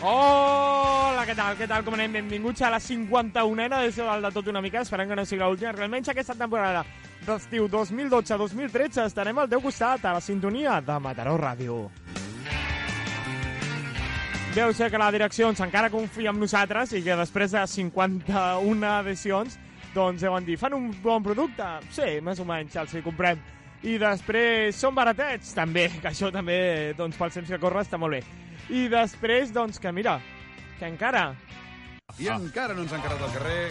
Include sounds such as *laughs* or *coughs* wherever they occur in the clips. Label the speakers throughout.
Speaker 1: Hola, què tal, què tal, com anem? Benvinguts a la 51a edició del De Tot Una Mica. Esperem que no sigui l'última, però almenys aquesta temporada d'estiu 2012-2013 estarem al teu costat, a la sintonia de Mataró Ràdio. Deu ser que la direcció doncs, encara confia en nosaltres i que després de 51 edicions doncs deuen dir, fan un bon producte? Sí, més o menys, els hi comprem. I després són baratets, també, *laughs* que això també, doncs, pels temps que corre està molt bé. I després, doncs, que mira, que encara...
Speaker 2: I encara no ens han carregat al carrer.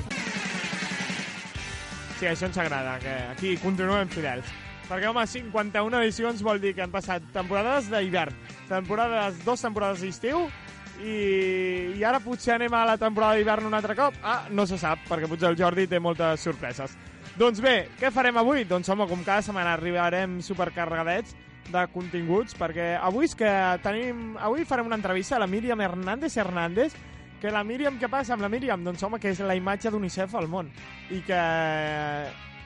Speaker 1: Sí, això ens agrada, que aquí continuem fidels. Perquè, home, 51 edicions vol dir que han passat temporades d'hivern, temporades, dos temporades d'estiu, i, i ara potser anem a la temporada d'hivern un altre cop? Ah, no se sap, perquè potser el Jordi té moltes sorpreses. Doncs bé, què farem avui? Doncs, home, com cada setmana arribarem supercarregadets de continguts, perquè avui és que tenim... Avui farem una entrevista a la Míriam Hernández Hernández, que la Míriam, què passa amb la Míriam? Doncs home, que és la imatge d'UNICEF al món. I que...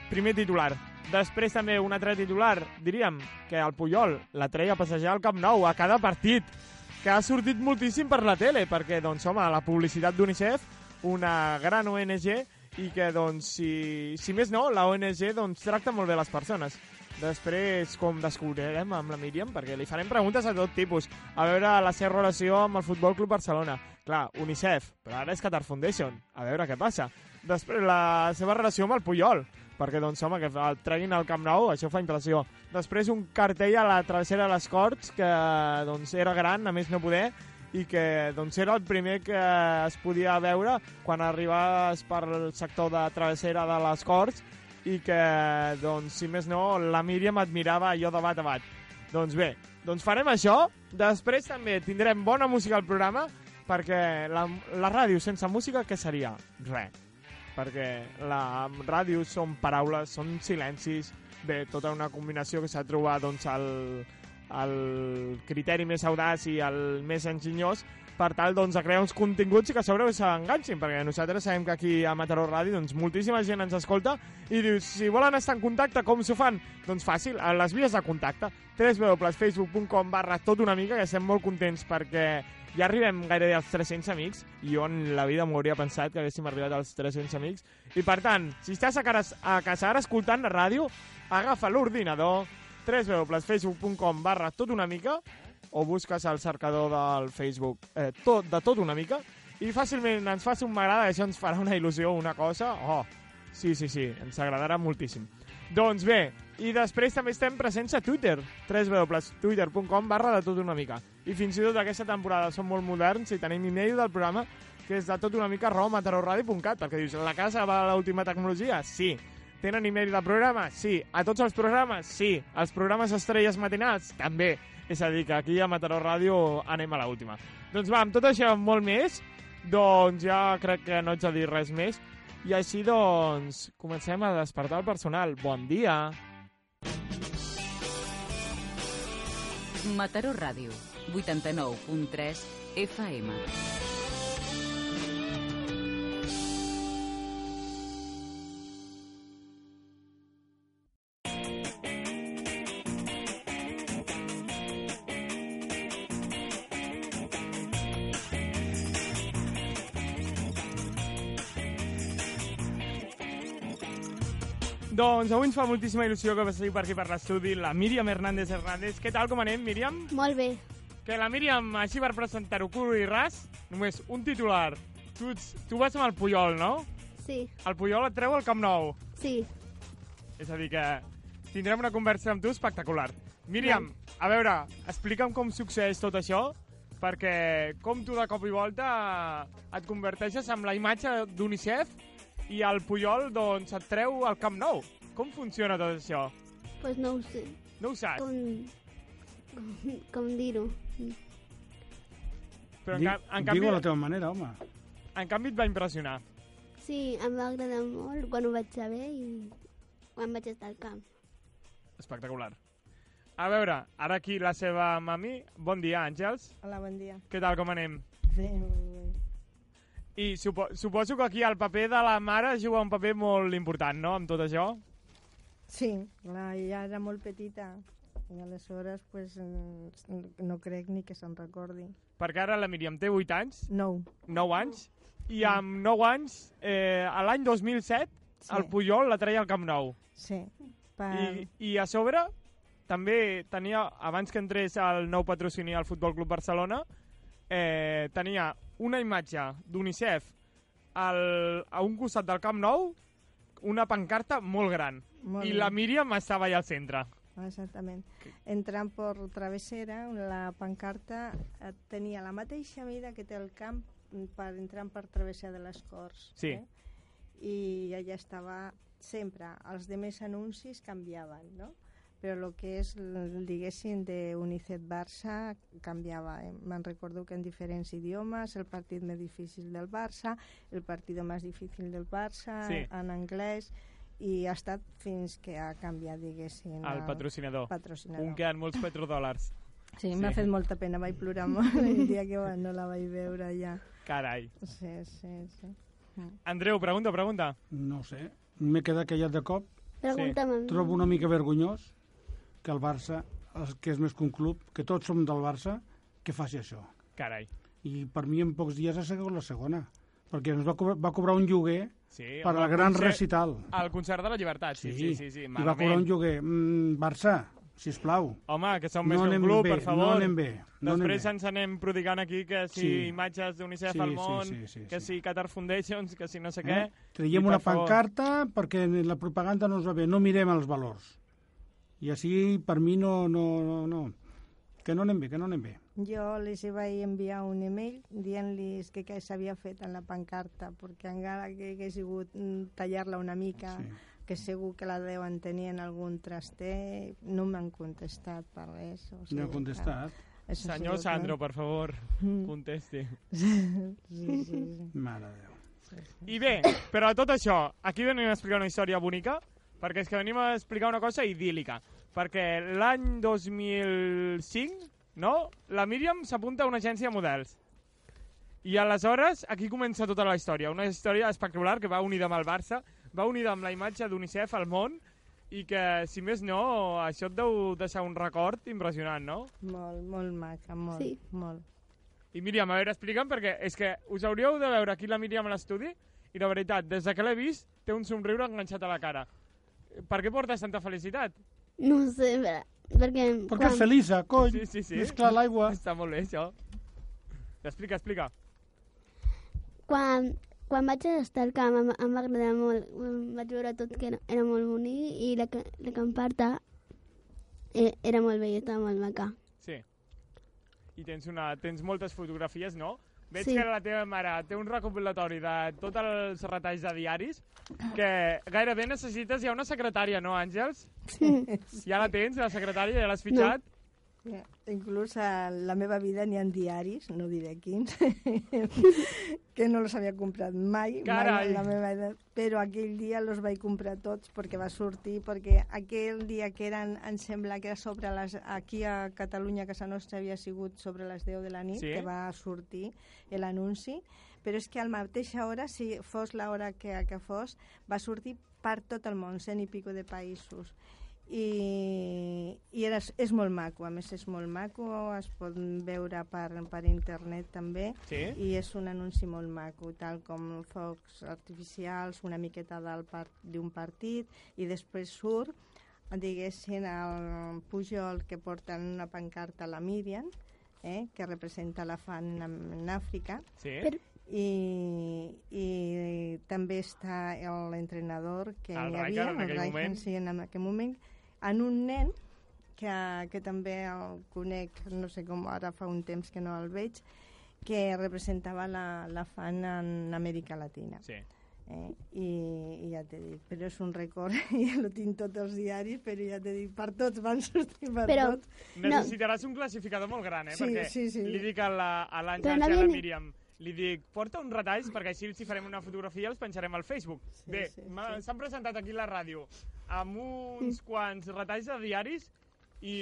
Speaker 1: Primer titular. Després també un altre titular, diríem, que el Puyol la treia a passejar al Camp Nou a cada partit, que ha sortit moltíssim per la tele, perquè, doncs, home, la publicitat d'UNICEF, una gran ONG, i que, doncs, si, si més no, la ONG doncs, tracta molt bé les persones. Després, com descobrirem amb la Míriam, perquè li farem preguntes de tot tipus. A veure la seva relació amb el Futbol Club Barcelona. Clar, UNICEF, però ara és Qatar Foundation. A veure què passa. Després, la seva relació amb el Puyol, perquè, doncs, home, que el treguin al Camp Nou, això fa impressió. Després, un cartell a la travessera de les Corts, que, doncs, era gran, a més no poder, i que doncs, era el primer que es podia veure quan arribaves pel sector de travessera de les Corts i que, doncs, si més no, la Míriam admirava allò de bat a bat. Doncs bé, doncs farem això. Després també tindrem bona música al programa perquè la, la ràdio sense música què seria? Res. Perquè la ràdio són paraules, són silencis, bé, tota una combinació que s'ha trobat doncs, el, el criteri més audaç i el més enginyós per tal doncs, de crear uns continguts i que a sobre s'enganxin, perquè nosaltres sabem que aquí a Mataró Ràdio doncs, moltíssima gent ens escolta i diu, si volen estar en contacte, com s'ho fan? Doncs fàcil, a les vies de contacte, www.facebook.com barra tot una mica, que estem molt contents perquè ja arribem gairebé als 300 amics, i jo en la vida m'ho hauria pensat que haguéssim arribat als 300 amics, i per tant, si estàs a, cares, a casa ara escoltant la ràdio, agafa l'ordinador, www.facebook.com barra tot una mica, o busques al cercador del Facebook eh, tot, de tot una mica i fàcilment ens fas un m'agrada, això ens farà una il·lusió, una cosa, oh, sí, sí, sí, ens agradarà moltíssim. Doncs bé, i després també estem presents a Twitter, www.twitter.com barra de tot una mica. I fins i tot aquesta temporada som molt moderns i tenim email del programa que és de tot una mica arroba matarorradio.cat perquè dius, la casa va a l'última tecnologia? Sí. Tenen email de programa? Sí. A tots els programes? Sí. Els programes estrelles matinals? També. És a dir, que aquí a Mataró Ràdio anem a l'última. Doncs va, amb tot això i molt més, doncs ja crec que no haig de dir res més. I així, doncs, comencem a despertar el personal. Bon dia!
Speaker 3: Mataró Ràdio, 89.3 FM.
Speaker 1: Doncs avui ens fa moltíssima il·lusió que passi per aquí per l'estudi la Míriam Hernández Hernández. Què tal, com anem, Míriam?
Speaker 4: Molt bé.
Speaker 1: Que la Míriam, així per presentar-ho, curo i ras, només un titular. Tu, ets, tu vas amb el Puyol, no?
Speaker 4: Sí,
Speaker 1: El Puyol et treu al Camp Nou.
Speaker 4: sí,
Speaker 1: És a dir, que tindrem una conversa amb tu espectacular. Míriam, a veure, explica'm com succeeix tot això, perquè com tu de cop i volta et converteixes amb la imatge d'UNICEF i el Puyol doncs et treu al Camp Nou. Com funciona tot això?
Speaker 4: Pues no ho sé.
Speaker 1: No ho saps,
Speaker 4: Com, com, com dir-ho.
Speaker 1: però en,
Speaker 5: Di-
Speaker 1: ca en,
Speaker 5: Digue-ho a la
Speaker 1: canvi,
Speaker 5: teva manera, home.
Speaker 1: en canvi et va impressionar.
Speaker 4: Sí, em va agradar molt quan ho vaig saber i quan vaig estar al camp.
Speaker 1: Espectacular. A veure, ara aquí la seva mami. Bon dia, Àngels.
Speaker 6: Hola, bon dia.
Speaker 1: Què tal, com anem?
Speaker 6: Bé, molt bé.
Speaker 1: I supo suposo que aquí el paper de la mare juga un paper molt important, no?, amb tot això.
Speaker 6: Sí, clar, ja era molt petita i aleshores pues, mm, no crec ni que se'n recordi.
Speaker 1: Perquè ara la Míriam té 8 anys,
Speaker 6: No.
Speaker 1: 9 anys, i amb 9 anys, eh, a l'any 2007,
Speaker 6: Sí,
Speaker 1: el Puyol la treia al Camp Nou.
Speaker 6: Sí, per...
Speaker 1: I, I a sobre, també tenia, abans que entrés el nou patrocini al Futbol Club Barcelona, eh, tenia una imatge d'UNICEF al- a un costat del Camp Nou, una pancarta molt gran.
Speaker 6: Molt
Speaker 1: I
Speaker 6: bé.
Speaker 1: la Míriam estava allà al centre.
Speaker 6: Exactament. Entrant per travessera, la pancarta eh, tenia la mateixa mida que té el camp mm, per entrant per travessera de les Corts.
Speaker 1: Sí.
Speaker 6: Eh? I allà estava sempre. Els de més anuncis canviaven, no? Però el que és, l- diguéssim, de UNICEF Barça canviava. eh? Me'n recordo que en diferents idiomes, el partit més difícil del Barça, el partit més difícil del Barça,
Speaker 1: Sí.
Speaker 6: en anglès, i ha estat fins que ha canviat, diguéssim,
Speaker 1: El patrocinador.
Speaker 6: patrocinador.
Speaker 1: Un queden molts petrodòlars.
Speaker 6: Sí, m'ha
Speaker 1: sí.
Speaker 6: fet molta pena, vaig
Speaker 1: *laughs*
Speaker 6: plorar molt el dia que va- no la vaig veure ja.
Speaker 1: Carai.
Speaker 6: Sí, sí, sí.
Speaker 1: Andreu, pregunta, pregunta.
Speaker 5: No ho sé. M'he quedat callat de cop.
Speaker 4: Pregunta'm a mi.
Speaker 5: Trobo una mica vergonyós que el Barça, el que és més que un club, que tots som del Barça, que faci això.
Speaker 1: Carai.
Speaker 5: I per mi en pocs dies ha segut la segona, perquè ens va cobrar, va cobrar un lloguer
Speaker 1: Sí,
Speaker 5: per
Speaker 1: home,
Speaker 5: al gran
Speaker 1: concert-
Speaker 5: recital.
Speaker 1: Al concert de la llibertat, sí, sí, sí. sí, sí.
Speaker 5: I va cobrar un lloguer. Mm, Barça, sisplau,
Speaker 1: Home, que som
Speaker 5: No
Speaker 1: més que
Speaker 5: anem
Speaker 1: un club,
Speaker 5: bé,
Speaker 1: per favor.
Speaker 5: no anem bé, no anem
Speaker 1: Després
Speaker 5: bé.
Speaker 1: ens anem prodigant aquí que si
Speaker 5: Sí.
Speaker 1: imatges d'UNICEF
Speaker 5: Sí,
Speaker 1: al
Speaker 5: sí,
Speaker 1: món,
Speaker 5: sí, sí,
Speaker 1: que
Speaker 5: sí.
Speaker 1: si Qatar Foundations, que si no sé què... I,
Speaker 5: Eh? Traiem
Speaker 1: per
Speaker 5: una
Speaker 1: favor,
Speaker 5: pancarta perquè la propaganda no ens va bé, no mirem els valors. I així, per mi, no, no, no, no. Que no anem bé, que no anem bé.
Speaker 6: Jo les hi vaig enviar un email dient-li que què s'havia fet en la pancarta, perquè encara que hagués sigut mm, tallar-la una mica,
Speaker 5: Sí.
Speaker 6: sí. que segur que la deuen tenir en algun traster, no m'han contestat per res. O
Speaker 5: No he contestat.
Speaker 6: que Mm. això ha
Speaker 1: Senyor
Speaker 6: sigut una-
Speaker 1: Sandro, per favor, contesti.
Speaker 6: Sí, sí, sí.
Speaker 5: Mare de Déu.
Speaker 1: I bé, però a tot això, aquí venim a explicar una història bonica, perquè és que venim a explicar una cosa idíl·lica. Perquè l'any 2005, no?, la Míriam s'apunta a una agència de models. I aleshores, aquí comença tota la història. Una història espectacular que va unida amb el Barça, va unida amb la imatge d'UNICEF al món, i que, si més no, això et deu deixar un record impressionant, no?
Speaker 6: Molt, molt maca, molt,
Speaker 4: Sí.
Speaker 6: molt.
Speaker 1: I Míriam, a veure, explica'm, perquè és que us hauríeu de veure aquí la Míriam a l'estudi i la veritat, des de que l'he vist, té un somriure enganxat a la cara. Per què portes tanta felicitat?
Speaker 4: No ho sé, però, perquè...
Speaker 5: Perquè és Elisa, cony.
Speaker 1: Sí, sí, sí.
Speaker 5: És clar
Speaker 4: Ah.
Speaker 5: l'aigua.
Speaker 1: Està molt bé, això. Explica, explica.
Speaker 4: quan, quan vaig estar al camp em, em va agradar molt, em vaig veure tot que era, era molt bonic i la, ca- la camparta eh, era molt bella, estava molt maca.
Speaker 1: Sí. I tens, una, tens moltes fotografies, no? Veig
Speaker 4: Sí.
Speaker 1: que la teva mare té un recopilatori de tots els retalls de diaris que gairebé necessites ja una secretària, no, Àngels? Ja la tens, la secretària, ja l'has fitxat?
Speaker 6: Ja, Inclús Eh, a la meva vida n'hi ha diaris, no diré quins, *laughs* que no els havia comprat mai, mai
Speaker 1: Carai.
Speaker 6: en la meva edat, però aquell dia los vaig comprar tots perquè va sortir, perquè aquell dia que eren, em sembla que era sobre les, aquí a Catalunya, a casa nostra, havia sigut sobre les 10 de la nit,
Speaker 1: Sí.
Speaker 6: que va sortir l'anunci, però és que a la mateixa hora, si fos l'hora que, que fos, va sortir per tot el món, cent i pico de països i, i era, és molt maco, a més és molt maco, es pot veure per, per internet també
Speaker 1: Sí.
Speaker 6: i és un anunci molt maco, tal com focs artificials, una miqueta del part- d'un partit i després surt diguessin el Pujol que porta en una pancarta a la Míriam eh, que representa la fan en, en Àfrica
Speaker 1: Sí.
Speaker 4: Però-
Speaker 6: i, i també està l'entrenador que
Speaker 1: El
Speaker 6: hi
Speaker 1: Rijkaard
Speaker 6: havia,
Speaker 1: en aquell moment.
Speaker 6: sí, en aquell moment, en un nen que, que també el conec, no sé com ara fa un temps que no el veig, que representava la, la fan en Amèrica Latina.
Speaker 1: Sí.
Speaker 6: Eh? I, I ja t'he dit, però és un record, *laughs* ja lo tinc tots els diaris, però ja t'he dit, per tots van sortir, per
Speaker 4: Però-
Speaker 6: tots.
Speaker 1: Necessitaràs un classificador molt gran, eh?
Speaker 6: Sí,
Speaker 1: perquè
Speaker 6: sí, sí.
Speaker 1: li dic a la- a l'Àngels
Speaker 4: Però
Speaker 1: i a
Speaker 4: no
Speaker 1: la
Speaker 4: viene-
Speaker 1: Míriam, li dic, porta uns retalls perquè així els hi farem una fotografia i els penjarem al Facebook.
Speaker 6: Sí,
Speaker 1: Bé,
Speaker 6: sí,
Speaker 1: m'ha-
Speaker 6: sí.
Speaker 1: s'han presentat aquí a la ràdio amb uns quants retalls de diaris i,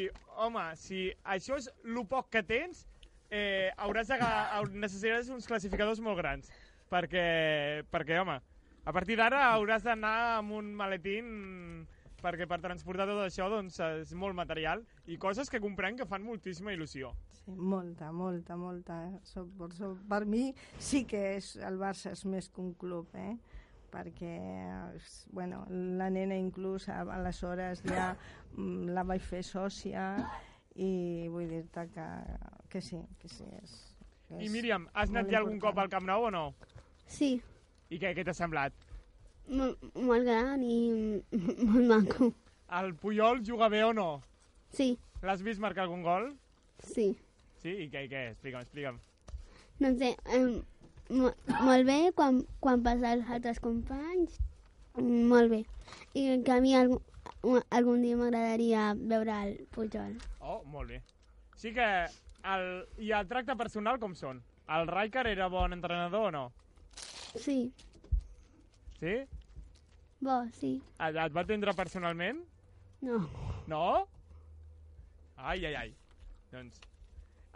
Speaker 1: home, si això és el poc que tens, eh, hauràs de, necessitaràs uns classificadors molt grans. Perquè, perquè home, a partir d'ara hauràs d'anar amb un maletín perquè per transportar tot això doncs, és molt material i coses que comprem que fan moltíssima il·lusió.
Speaker 6: Sí, molta, molta, molta. So, per, so, per mi sí que és, el Barça és més que un club, eh? perquè eh, s- bueno, la nena inclús a, a les hores ja mm, la vaig fer sòcia i vull dir-te que, que sí, que sí. És, és
Speaker 1: I Míriam, has anat
Speaker 6: molt
Speaker 1: ja algun cop
Speaker 6: important.
Speaker 1: al Camp Nou o no?
Speaker 4: Sí,
Speaker 1: I què, què t'ha semblat?
Speaker 4: molt, molt gran i *laughs* molt maco.
Speaker 1: El Puyol juga bé o no?
Speaker 4: Sí,
Speaker 1: L'has vist marcar algun gol?
Speaker 4: sí.
Speaker 1: Sí? I què, i què? Explica'm, explica'm.
Speaker 4: Doncs eh, em, mo- molt bé quan, quan passa als altres companys, mm, molt bé. I que a mi algun, un- algun dia m'agradaria veure el Pujol.
Speaker 1: Oh, molt bé. Sí que... El, I el tracte personal com són? El Rijkaard era bon entrenador o no?
Speaker 4: Sí,
Speaker 1: Sí?
Speaker 4: bo, sí,
Speaker 1: Et, et va atendre personalment?
Speaker 4: no.
Speaker 1: No? Ai, ai, ai. Doncs...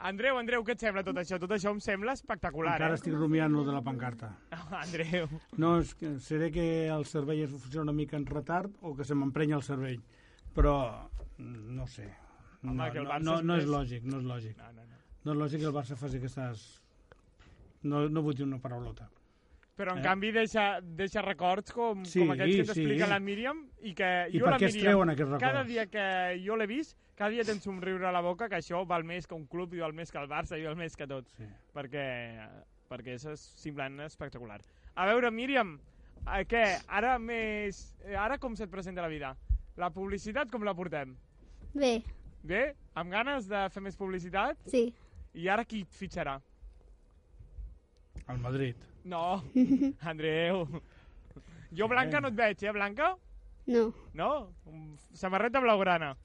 Speaker 1: Andreu, Andreu, què et sembla tot això? Tot això em sembla espectacular,
Speaker 5: Encara
Speaker 1: eh?
Speaker 5: estic rumiant lo de la pancarta.
Speaker 1: *laughs* Andreu.
Speaker 5: No, és que seré que el cervell es funciona una mica en retard o que se m'emprenya el cervell, però mm, no sé. No,
Speaker 1: Home, que el
Speaker 5: no,
Speaker 1: Barça
Speaker 5: no, no és
Speaker 1: és-
Speaker 5: lògic, no és lògic.
Speaker 1: No, no, no.
Speaker 5: No és lògic que el Barça faci aquestes... No, no vull dir una paraulota.
Speaker 1: Però, en
Speaker 5: Eh?
Speaker 1: eh? canvi, deixa, deixa records com,
Speaker 5: Sí,
Speaker 1: sí, com aquests que
Speaker 5: sí.
Speaker 1: t'explica sí. la Míriam i que
Speaker 5: I
Speaker 1: jo
Speaker 5: per
Speaker 1: la
Speaker 5: què es
Speaker 1: Míriam,
Speaker 5: treuen aquests
Speaker 1: cada
Speaker 5: records?
Speaker 1: dia que jo l'he vist, cada dia tens un riure a la boca que això val més que un club i val més que el Barça i val més que tot.
Speaker 5: Sí.
Speaker 1: Perquè, perquè és semblant espectacular. A veure, Míriam, eh, què? Ara més... eh, Ara com se't presenta la vida? La publicitat com la portem?
Speaker 4: Bé,
Speaker 1: Bé? Amb ganes de fer més publicitat?
Speaker 4: sí,
Speaker 1: I ara qui et fitxarà?
Speaker 5: Al Madrid. *laughs*
Speaker 1: No, Andreu. Jo Blanca no et veig, eh, Blanca?
Speaker 4: no,
Speaker 1: No? Un- Samarreta blaugrana.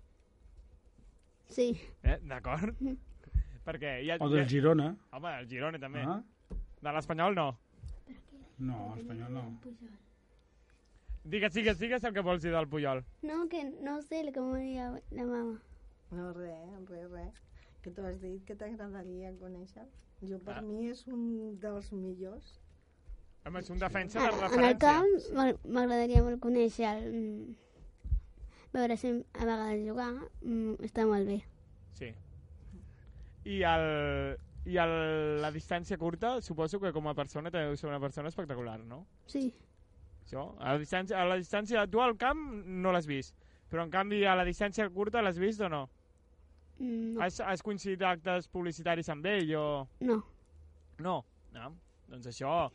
Speaker 4: sí,
Speaker 1: Eh? D'acord?
Speaker 4: *laughs*
Speaker 1: Perquè ja...
Speaker 5: O del
Speaker 1: ja...
Speaker 5: Girona.
Speaker 1: Home, el Girona també.
Speaker 5: Ah?
Speaker 1: De l'Espanyol no.
Speaker 5: No, espanyol no.
Speaker 1: Digues, digues, digues el que vols dir del Puyol.
Speaker 4: no, que no sé el que m'ho diria la mama.
Speaker 6: No, res, res, res. Que tu has dit que t'agradaria conèixer. Jo, per
Speaker 1: Ah.
Speaker 6: mi, és un dels millors.
Speaker 1: Home, és un defensa de
Speaker 4: Ah, En el
Speaker 1: referència.
Speaker 4: camp m'ag- m'agradaria molt conèixer el... mm, Veure si a vegades jugar mm, està molt bé.
Speaker 1: Sí. I el... I el, la distància curta, suposo que com a persona també deu ser una persona espectacular, no?
Speaker 4: Sí,
Speaker 1: Això. A la distància, a la distància tu al camp no l'has vist, però en canvi a la distància curta l'has vist o no?
Speaker 4: mm, no.
Speaker 1: Has, has coincidit actes publicitaris amb ell o...
Speaker 4: no.
Speaker 1: No. no. Doncs això,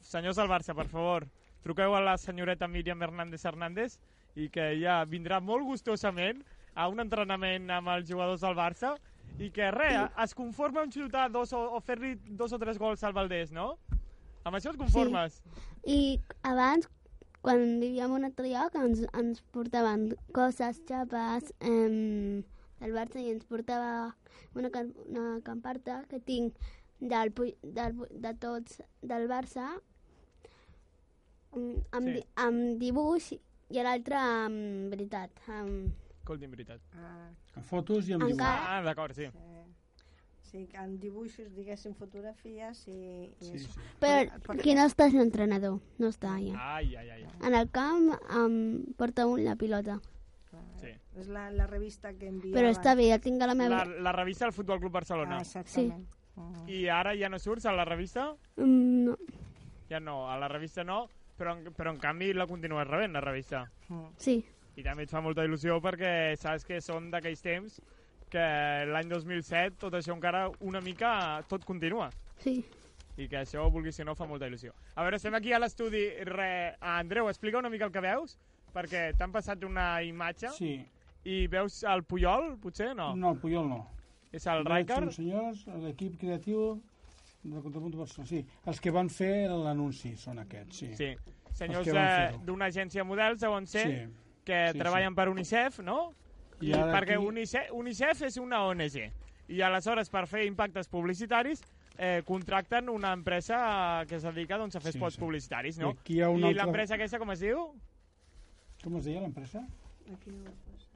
Speaker 1: senyors del Barça, per favor, truqueu a la senyoreta Míriam Hernández Hernández i que ella vindrà molt gustosament a un entrenament amb els jugadors del Barça i que res, es conforma en xutar dos o, o fer-li dos o tres gols al Valdés, no? Amb això et conformes?
Speaker 4: I abans, quan vivíem a un altre lloc, ens, ens portaven coses, xapes, eh, del Barça i ens portava una, cam- una camparta que tinc del, Puy- del, Pu- de tots del Barça mm, amb,
Speaker 1: Sí.
Speaker 4: di, amb dibuix i l'altre amb veritat. Amb...
Speaker 1: Escolti'm, veritat.
Speaker 6: Ah,
Speaker 5: Amb fotos i amb dibuix.
Speaker 4: Encara-
Speaker 1: Ah, d'acord, sí.
Speaker 6: eh, sí, que en dibuixos, diguéssim, fotografies i, i
Speaker 5: Sí,
Speaker 6: això.
Speaker 5: sí.
Speaker 4: Però
Speaker 6: Perquè-
Speaker 4: que no estàs l'entrenador, no està allà.
Speaker 1: Ai, ai, ai.
Speaker 4: En el camp em porta un la pilota.
Speaker 6: Clar,
Speaker 1: Sí.
Speaker 6: És la, la revista que enviaven.
Speaker 4: Però està bé, el tinc a la
Speaker 1: La,
Speaker 4: meva...
Speaker 1: la revista del Futbol Club Barcelona.
Speaker 6: Ah, exactament. Mm.
Speaker 1: I ara ja no surts a la revista?
Speaker 4: Mm, no.
Speaker 1: Ja no, a la revista no, però en, però en canvi la continues rebent, la revista.
Speaker 6: Mm.
Speaker 4: Sí,
Speaker 1: I també et fa molta il·lusió perquè saps que són d'aquells temps que l'any 2007 tot això encara una mica tot continua
Speaker 4: sí.
Speaker 1: i que això, vulguis o no, fa molta il·lusió. A veure, estem aquí a l'estudi. Re... Andreu, explica una mica el que veus, perquè t'han passat una imatge
Speaker 5: Sí.
Speaker 1: I veus el Puyol, potser? No.
Speaker 5: No, el Puyol no.
Speaker 1: És el
Speaker 5: Veig
Speaker 1: Rijkaard?
Speaker 5: uns senyors, l'equip creatiu del Contrapunt de Barcelona, sí. Els que van fer l'anunci són aquests, sí.
Speaker 1: Sí. Senyors
Speaker 5: que van
Speaker 1: de-
Speaker 5: fer-ho.
Speaker 1: d'una agència de models, deuen ser,
Speaker 5: Sí.
Speaker 1: que
Speaker 5: Sí,
Speaker 1: treballen per UNICEF, no?
Speaker 5: I
Speaker 1: I,
Speaker 5: ara
Speaker 1: perquè
Speaker 5: aquí-
Speaker 1: UNICEF, UNICEF és una ONG. I aleshores, per fer impactes publicitaris, eh, contracten una empresa eh, que es dedica doncs, a fer
Speaker 5: Sí,
Speaker 1: spots
Speaker 5: sí.
Speaker 1: publicitaris, no?
Speaker 5: I aquí hi ha una
Speaker 1: I
Speaker 5: altra-
Speaker 1: l'empresa aquesta, com es diu?
Speaker 5: Com es deia l'empresa?
Speaker 7: Aquí no ho posa.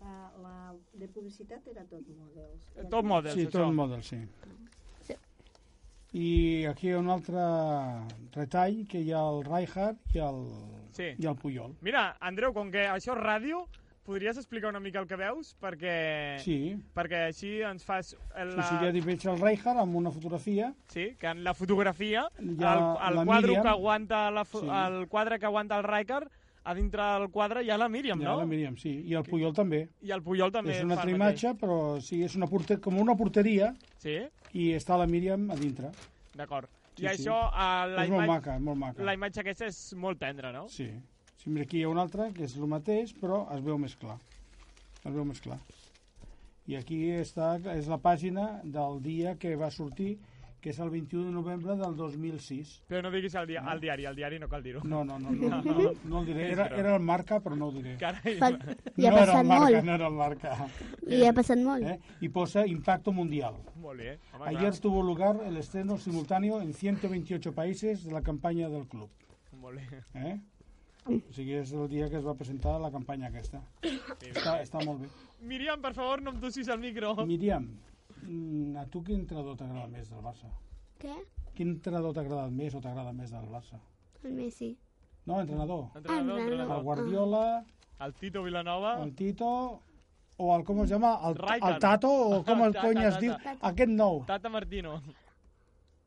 Speaker 7: La, la de publicitat era tot models. I
Speaker 1: Top
Speaker 7: aquí-
Speaker 1: Models,
Speaker 5: Sí,
Speaker 1: això.
Speaker 5: tot el model, sí.
Speaker 4: Sí.
Speaker 5: I aquí hi ha un altre retall que hi ha el Rijkaard i el,
Speaker 1: Sí.
Speaker 5: i el Puyol.
Speaker 1: Mira, Andreu, com que això és ràdio, podries explicar una mica el que veus? Perquè,
Speaker 5: Sí,
Speaker 1: perquè així ens fas...
Speaker 5: la...
Speaker 1: Eh. La...
Speaker 5: o sigui, ja veig el Rijkaard amb una fotografia
Speaker 1: Sí, que en la fotografia,
Speaker 5: Hi ha
Speaker 1: el, el,
Speaker 5: la
Speaker 1: quadre
Speaker 5: Míriam.
Speaker 1: que aguanta la fo-
Speaker 5: Sí.
Speaker 1: el quadre que aguanta el Riker, a dintre del quadre hi ha la Míriam,
Speaker 5: Ja
Speaker 1: no?
Speaker 5: la Míriam, sí. I el Puyol també.
Speaker 1: I el Puyol també
Speaker 5: és una
Speaker 1: fa
Speaker 5: altra
Speaker 1: el
Speaker 5: imatge, però sí, és una porter, com una porteria
Speaker 1: mateix. Sí,
Speaker 5: i està la Míriam a dintre.
Speaker 1: d'acord.
Speaker 5: Sí,
Speaker 1: I
Speaker 5: sí.
Speaker 1: això, a la,
Speaker 5: és molt
Speaker 1: imatge,
Speaker 5: maca, molt maca.
Speaker 1: la imatge aquesta és molt tendra, no?
Speaker 5: Sí. sí. Mira, aquí hi ha una altra que és el mateix, però es veu més clar. Es veu més clar. I aquí està, és la pàgina del dia que va sortir, que és el 21 de novembre del 2006.
Speaker 1: Però no diguis el, dia el diari, el diari no cal dir-ho.
Speaker 5: No, no, no, no, no, no el diré. Era, era el marca, però no ho
Speaker 1: *laughs*
Speaker 5: diré.
Speaker 1: Carai,
Speaker 4: Per, I ha
Speaker 5: no era
Speaker 4: passat
Speaker 5: el marca,
Speaker 4: molt.
Speaker 5: no era el marca.
Speaker 4: I ha passat molt.
Speaker 5: Eh? I posa impacto mundial.
Speaker 1: molt bé. eh? Home,
Speaker 5: Ayer tuvo lugar el estreno simultáneo en 128 países de la campaña del club.
Speaker 1: clar, molt bé.
Speaker 5: Eh? O sigui, és el dia que es va presentar la campanya aquesta. Està, està molt bé.
Speaker 1: Míriam, per favor, no em tossis el micro.
Speaker 5: Miriam, mm, a tu quin entrenador t'agrada més del Barça?
Speaker 4: Què?
Speaker 5: Quin entrenador t'agrada més o t'agrada més del Barça?
Speaker 4: El Messi.
Speaker 5: No, entrenador.
Speaker 1: Entrenador,
Speaker 5: El
Speaker 1: entrenador.
Speaker 5: Guardiola,
Speaker 1: El Tito Vilanova.
Speaker 5: el Tito, o el, com es llama? El,
Speaker 1: Rijkaard.
Speaker 5: el Tato, o
Speaker 1: *laughs*
Speaker 5: com el
Speaker 1: Tata,
Speaker 5: cony es
Speaker 1: Tata.
Speaker 5: diu? Aquest nou.
Speaker 1: Tata Martino.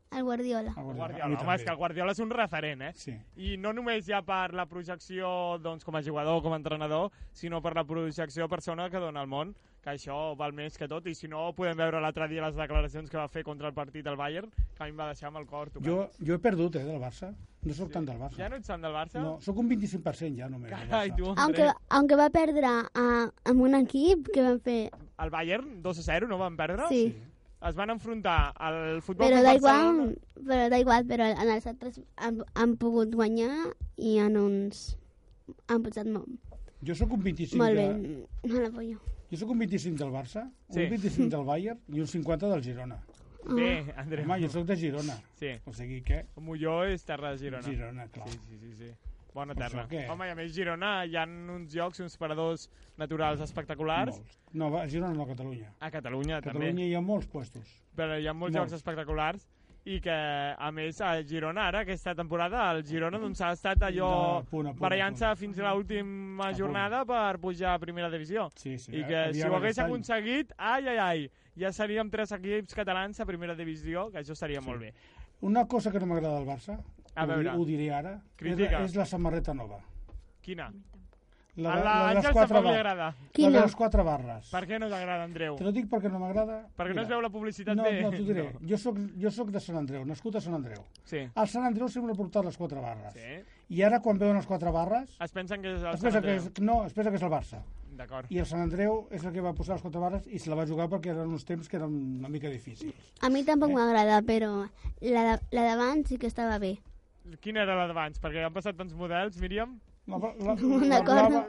Speaker 4: El Guardiola.
Speaker 5: El a mi
Speaker 1: Guardiola. Home,
Speaker 5: també.
Speaker 1: és que el Guardiola és un referent, eh?
Speaker 5: Sí.
Speaker 1: I no només ja per la projecció doncs, com a jugador, com a entrenador, sinó per la projecció de persona que dona al món, que això val més que tot, i si no, podem veure l'altre dia les declaracions que va fer contra el partit del Bayern, que a mi em va deixar amb el cor tocat.
Speaker 5: Jo, jo he perdut, eh, del Barça. No sóc tant del Barça.
Speaker 1: Ja no ets sant del Barça?
Speaker 5: No, sóc un 25% ja només. del
Speaker 1: Carai,
Speaker 5: Barça.
Speaker 1: tu,
Speaker 4: Aunque,
Speaker 1: André.
Speaker 4: aunque va perdre a, amb un equip que van fer...
Speaker 1: El Bayern, 2 a 0, no van perdre?
Speaker 4: Sí.
Speaker 1: Es van enfrontar al futbol
Speaker 4: Però
Speaker 1: Club
Speaker 4: da
Speaker 1: Barcelona.
Speaker 4: igual, però da igual, però en els altres han, han pogut guanyar i en uns han posat molt,
Speaker 5: Jo sóc un 25
Speaker 4: molt
Speaker 5: de,
Speaker 4: bé. No l'apoyo.
Speaker 5: Jo sóc un 25 del Barça, sí.
Speaker 1: Sí.
Speaker 5: un 25 del Bayern i un 50 del Girona.
Speaker 1: Bé,
Speaker 4: Ah.
Speaker 1: André.
Speaker 5: Home, jo sóc de Girona.
Speaker 1: Sí.
Speaker 5: O sigui que...
Speaker 1: Molló és terra de Girona.
Speaker 5: Girona, clar. Doncs
Speaker 1: Sí, sí, sí, sí. Bona
Speaker 5: Per
Speaker 1: terra.
Speaker 5: això què?
Speaker 1: Home, i a més Girona hi ha uns llocs, uns paradors
Speaker 5: Mm.
Speaker 1: naturals espectaculars.
Speaker 5: Molts. No, va, Girona no, Catalunya.
Speaker 1: A Catalunya,
Speaker 5: A Catalunya
Speaker 1: també.
Speaker 5: hi ha molts puestos.
Speaker 1: Però hi ha molts,
Speaker 5: Molts.
Speaker 1: llocs espectaculars i que, a més, a Girona, ara, aquesta temporada, el Girona doncs, ha estat allò
Speaker 5: No, a Mm. punt, a punt,
Speaker 1: barallant-se
Speaker 5: a punt.
Speaker 1: fins a l'última
Speaker 5: A punt.
Speaker 1: jornada per pujar a primera divisió.
Speaker 5: Sí, sí,
Speaker 1: I que
Speaker 5: havia
Speaker 1: si ho hagués
Speaker 5: aquest any.
Speaker 1: aconseguit, ai, ai, ai, ja seríem tres equips catalans a primera divisió, que això estaria molt bé.
Speaker 5: Una cosa que no m'agrada del Barça,
Speaker 1: A
Speaker 5: ho, di-
Speaker 1: veure.
Speaker 5: ho diré ara, és,
Speaker 1: Critica.
Speaker 5: és la samarreta nova.
Speaker 1: Quina?
Speaker 5: La,
Speaker 1: a
Speaker 5: de-
Speaker 1: la,
Speaker 5: la de les
Speaker 1: Àngels
Speaker 5: quatre
Speaker 1: tampoc li
Speaker 5: barres.
Speaker 1: agrada.
Speaker 5: La de
Speaker 4: Quina?
Speaker 5: les quatre barres.
Speaker 1: Per què no t'agrada, Andreu?
Speaker 5: Te lo dic perquè no m'agrada.
Speaker 1: Perquè no
Speaker 5: Mira,
Speaker 1: es veu la publicitat
Speaker 5: no,
Speaker 1: de...
Speaker 5: No, t'ho diré. Jo, soc, jo soc de Sant Andreu, nascut a Sant Andreu.
Speaker 1: Sí.
Speaker 5: Al Sant Andreu sempre he portat les quatre barres.
Speaker 1: sí.
Speaker 5: I ara, quan veuen les quatre barres,
Speaker 1: Es pensen que és el
Speaker 5: es
Speaker 1: Sant
Speaker 5: pensa que
Speaker 1: Andreu.
Speaker 5: és, no, es pensa que és el Barça.
Speaker 1: D'acord.
Speaker 5: I el Sant Andreu és el que va posar les quatre barres i se la va jugar perquè eren uns temps que eren una mica difícils.
Speaker 4: A mi
Speaker 5: Eh.
Speaker 4: tampoc m'agrada, però la, de, la d'abans sí que estava bé.
Speaker 1: Quina era la d'abans? Perquè han passat tants models, Míriam.
Speaker 5: La, bla-
Speaker 4: *laughs*
Speaker 5: la, la,
Speaker 4: D'acord.
Speaker 5: blava,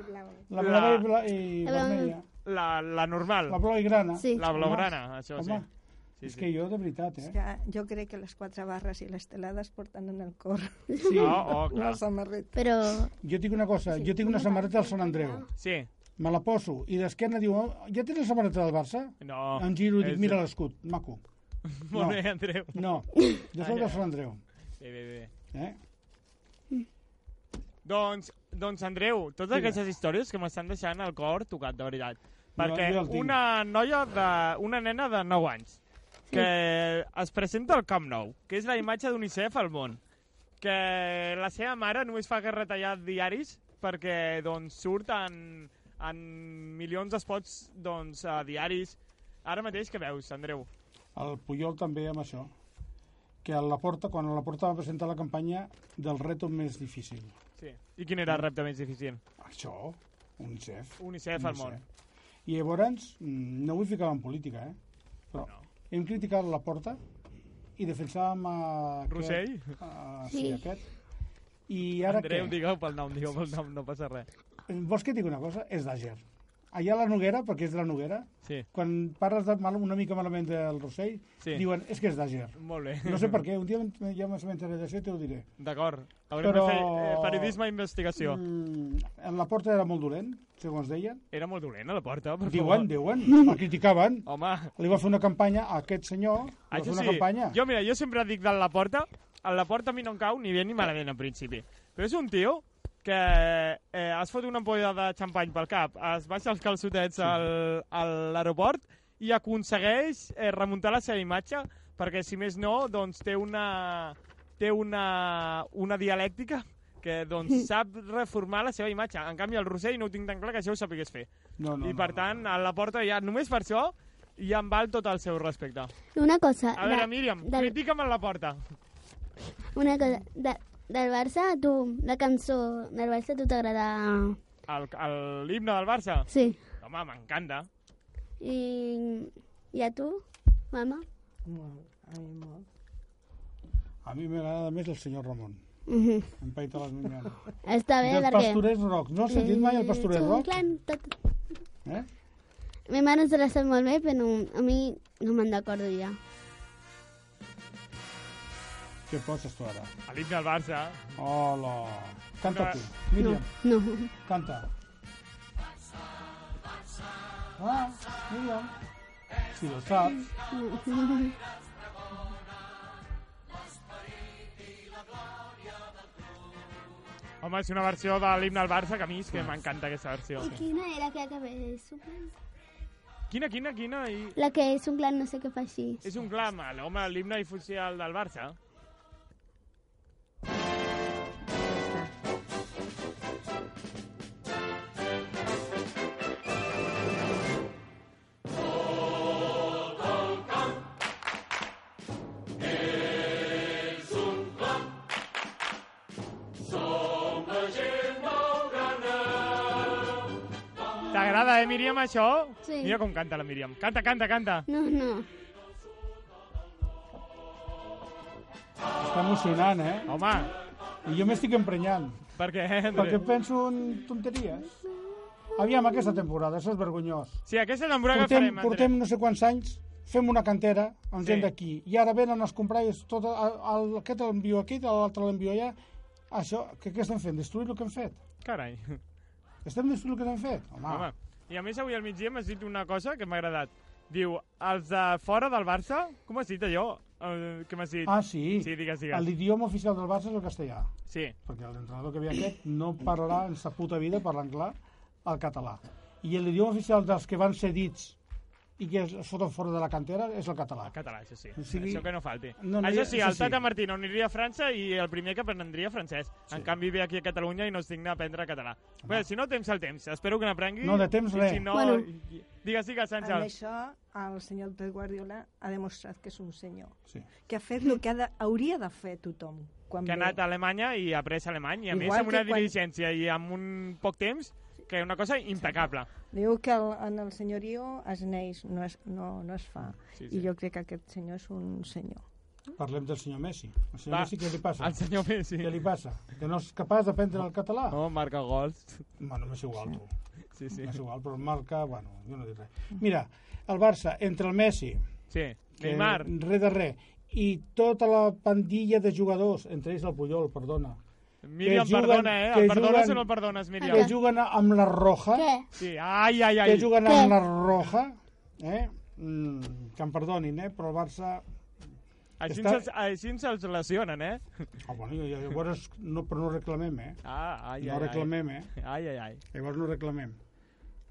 Speaker 5: la
Speaker 1: La-
Speaker 5: blava i, bla, i
Speaker 4: La blava-
Speaker 5: vermella.
Speaker 1: La, la normal.
Speaker 5: La blava i grana.
Speaker 4: Sí.
Speaker 1: La blaugrana, això
Speaker 5: Home,
Speaker 1: sí.
Speaker 5: és que jo, de veritat,
Speaker 6: És
Speaker 5: eh?
Speaker 6: que jo crec que les quatre barres i les telades porten en el cor
Speaker 1: Sí. Oh,
Speaker 6: *laughs*
Speaker 1: oh, clar.
Speaker 6: la samarreta.
Speaker 4: Però
Speaker 5: Jo tinc una cosa, jo tinc una samarreta del Sant Andreu.
Speaker 1: Sí.
Speaker 5: Me la poso i d'esquerna diu, "Oh, ja tens la samarreta del Barça?
Speaker 1: No.
Speaker 5: Em giro i dic,
Speaker 1: és-
Speaker 5: mira l'escut, maco.
Speaker 1: *laughs* Molt
Speaker 5: no.
Speaker 1: bé, Andreu. *coughs*
Speaker 5: No, jo soc del Sant Andreu.
Speaker 1: Bé, bé, bé.
Speaker 5: Eh?
Speaker 1: Doncs, doncs Andreu, totes
Speaker 5: Digues.
Speaker 1: aquestes històries que m'estan deixant el cor tocat, de veritat. Perquè
Speaker 5: jo el tinc.
Speaker 1: una noia de... una nena de 9 anys que es presenta al Camp Nou, que és la imatge d'UNICEF al món, que la seva mare només fa que retallar diaris perquè doncs, surt en, en milions d'espots doncs, a diaris. Ara mateix que veus, Andreu?
Speaker 5: El Puyol també amb això. Que a la porta, quan a la porta va presentar la campanya del reto més difícil.
Speaker 1: Sí. I quin era el repte més difícil?
Speaker 5: Això, UNICEF.
Speaker 1: UNICEF al món.
Speaker 5: I llavors, mm, no vull ficar en política, eh? però
Speaker 1: No.
Speaker 5: hem criticat la porta i defensàvem a aquest,
Speaker 1: Rossell?
Speaker 5: A, sí,
Speaker 4: Sí.
Speaker 5: aquest. I ara
Speaker 1: Andreu,
Speaker 5: què?
Speaker 1: digueu pel nom, digueu pel nom, no passa res.
Speaker 5: Vols que et digui una cosa? És d'Àger. Allà a la Noguera, perquè és de la Noguera,
Speaker 1: Sí,
Speaker 5: quan parles de mal, una mica malament del Rossell,
Speaker 1: Sí.
Speaker 5: diuen, és que és d'Àger.
Speaker 1: molt bé.
Speaker 5: No
Speaker 1: *laughs*
Speaker 5: sé per què, un dia ja m'assabentaré d'això i t'ho diré.
Speaker 1: D'acord. Haurem
Speaker 5: Però-
Speaker 1: de fer eh, periodisme i investigació.
Speaker 5: Mm, la porta era molt dolent, segons deien.
Speaker 1: Era molt dolent a la porta, per favor.
Speaker 5: Diuen, diuen, el criticaven.
Speaker 1: Home,
Speaker 5: Li va fer una campanya a aquest senyor, li va fer
Speaker 1: això
Speaker 5: una
Speaker 1: sí.
Speaker 5: campanya.
Speaker 1: Jo, mira, jo sempre dic de la porta, a la porta a mi no em cau ni
Speaker 5: Eh.
Speaker 1: bé ni malament en principi. Però és un tio que eh, es fot una ampolla de xampany pel cap, es baixa els calçotets al, a l'aeroport i aconsegueix eh, remuntar la seva imatge perquè, si més no, doncs té una, té una, una dialèctica que
Speaker 5: *laughs*
Speaker 1: doncs, sap reformar la seva imatge. En canvi, el Rossell no ho tinc tan clar que això ho sapigués fer.
Speaker 5: No, no,
Speaker 1: I per
Speaker 5: no,
Speaker 1: tant, a la porta ja, només per això, ja em val tot el seu respecte.
Speaker 4: Una cosa...
Speaker 1: A veure,
Speaker 4: de-
Speaker 1: Míriam,
Speaker 4: del,
Speaker 1: critica'm a la porta.
Speaker 4: una cosa... De, del Barça, a tu, la cançó del Barça, a tu t'agrada...
Speaker 1: El- el- L'himne del Barça.
Speaker 4: Sí.
Speaker 1: Home, m'encanta.
Speaker 4: I, I a tu, mama?
Speaker 6: Molt, a mi molt.
Speaker 5: A mi m'agrada més el senyor Ramon,
Speaker 4: Mhm.
Speaker 5: en Paita les Minyanes.
Speaker 4: Està bé,
Speaker 5: Dels
Speaker 4: perquè...
Speaker 5: pastorets rocs. No has sentit mai el pastoret
Speaker 4: Sí,
Speaker 5: roc?
Speaker 4: clar, tot...
Speaker 5: Eh?
Speaker 4: Ma mare ens la sap molt bé, però a mi no me'n recordo ja.
Speaker 5: Què poses tu ara?
Speaker 1: L'himne del Barça.
Speaker 5: Hola. Canta tu, Míriam,
Speaker 4: No.
Speaker 5: canta. Ah, Míriam. Si lo saps.
Speaker 1: Home, és una versió de l'himne del Barça que a mi és que m'encanta aquesta versió.
Speaker 4: quina era aquella que és un clan?
Speaker 1: Quina, quina, quina? I...
Speaker 4: La que és un clan no sé què fa així.
Speaker 1: És un clam, el- home, l'himne oficial del Barça. T'agrada, eh, Míriam, això?
Speaker 4: Sí. Mm.
Speaker 1: Mira com canta la Míriam. Canta, canta, canta.
Speaker 4: No, no.
Speaker 5: Està emocionant, eh?
Speaker 1: Home,
Speaker 5: I jo m'estic emprenyant,
Speaker 1: per què, eh, Andreu?
Speaker 5: perquè penso en tonteries. Aviam, aquesta temporada, això és vergonyós.
Speaker 1: Sí, aquesta temporada que farem,
Speaker 5: Portem,
Speaker 1: Andreu.
Speaker 5: portem no sé quants anys, fem una cantera amb
Speaker 1: Sí.
Speaker 5: gent d'aquí, i ara venen els comprar-los, tot, el, el, aquest l'envio aquí, l'altre l'envio allà. Això, què, què estem fent? Destruir el que hem fet?
Speaker 1: Carai.
Speaker 5: Estem destruint el que hem fet? Home,
Speaker 1: Home. I a més avui al migdia m'has dit una cosa que m'ha agradat. Diu, els de fora del Barça... Com has dit allò? El, que m'has dit?
Speaker 5: Ah, sí.
Speaker 1: Sí, digues, digues.
Speaker 5: L'idioma oficial del Barça és el castellà,
Speaker 1: Sí.
Speaker 5: perquè l'entrenador que ve aquest no parlarà en sa puta vida parlant clar el català. I l'idioma oficial dels que van ser dits i que es foten fora de la cantera és el català.
Speaker 1: El català, això sí.
Speaker 5: O sigui-
Speaker 1: això que no falti.
Speaker 5: No, no,
Speaker 1: això
Speaker 5: ja-
Speaker 1: sí,
Speaker 5: això
Speaker 1: el
Speaker 5: sí.
Speaker 1: Tata Martino aniria a França i el primer que aprendria francès. En canvi ve aquí a Catalunya i no es digna a aprendre català. Bé, si no, temps al temps. Espero que n'aprengui.
Speaker 5: No, de temps,
Speaker 1: I
Speaker 5: res.
Speaker 1: Si no...
Speaker 4: Bueno.
Speaker 1: Digues, digues,
Speaker 6: Amb
Speaker 1: Àngel.
Speaker 6: això, el senyor Pep Guardiola ha demostrat que és un senyor,
Speaker 5: Sí.
Speaker 6: que ha fet el que ha de, hauria de fer tothom. Quan
Speaker 1: que ha
Speaker 6: ve.
Speaker 1: anat a Alemanya i ha après alemany, i a
Speaker 6: Igual
Speaker 1: més amb
Speaker 6: que
Speaker 1: una
Speaker 6: quan-
Speaker 1: diligència i amb un poc temps, que una cosa impecable.
Speaker 6: Diu que el, en el senyorio es neix, no es, no, no es fa.
Speaker 1: Sí,
Speaker 6: Sí,
Speaker 1: sí.
Speaker 6: sí. I jo crec que aquest senyor és un senyor.
Speaker 5: Parlem del senyor Messi. El senyor
Speaker 1: Va,
Speaker 5: Messi què li passa?
Speaker 1: El senyor Messi.
Speaker 5: Què li passa? Que no és capaç d'aprendre el català? No.
Speaker 1: No, marca gols.
Speaker 5: Bueno, m'és igual, tu.
Speaker 1: Sí, sí.
Speaker 5: M'és igual, però el marca... Bueno, jo no dic res. Mira, el Barça, entre el Messi,
Speaker 1: Sí,
Speaker 5: que
Speaker 1: Neymar.
Speaker 5: res de res, i tota la pandilla de jugadors, entre ells el Puyol, perdona,
Speaker 1: Míriam,
Speaker 5: que juguen-
Speaker 1: perdona, eh?
Speaker 5: que
Speaker 1: El perdones
Speaker 5: juguen-
Speaker 1: o no el perdones, Míriam?
Speaker 5: que juguen amb la roja,
Speaker 4: Què?
Speaker 1: Sí, ai, ai, ai.
Speaker 5: que juguen
Speaker 4: Què?
Speaker 5: amb la roja, eh? Mm, que em perdonin, eh? però el Barça...
Speaker 1: Així,
Speaker 5: Està-
Speaker 1: se'ls, així se'ls lesionen, eh?
Speaker 5: Oh, bueno, i llavors no, però no reclamem, eh?
Speaker 1: Ah, ai, ai,
Speaker 5: No reclamem, eh?
Speaker 1: ai. Ai, ai, ai.
Speaker 5: Llavors no reclamem.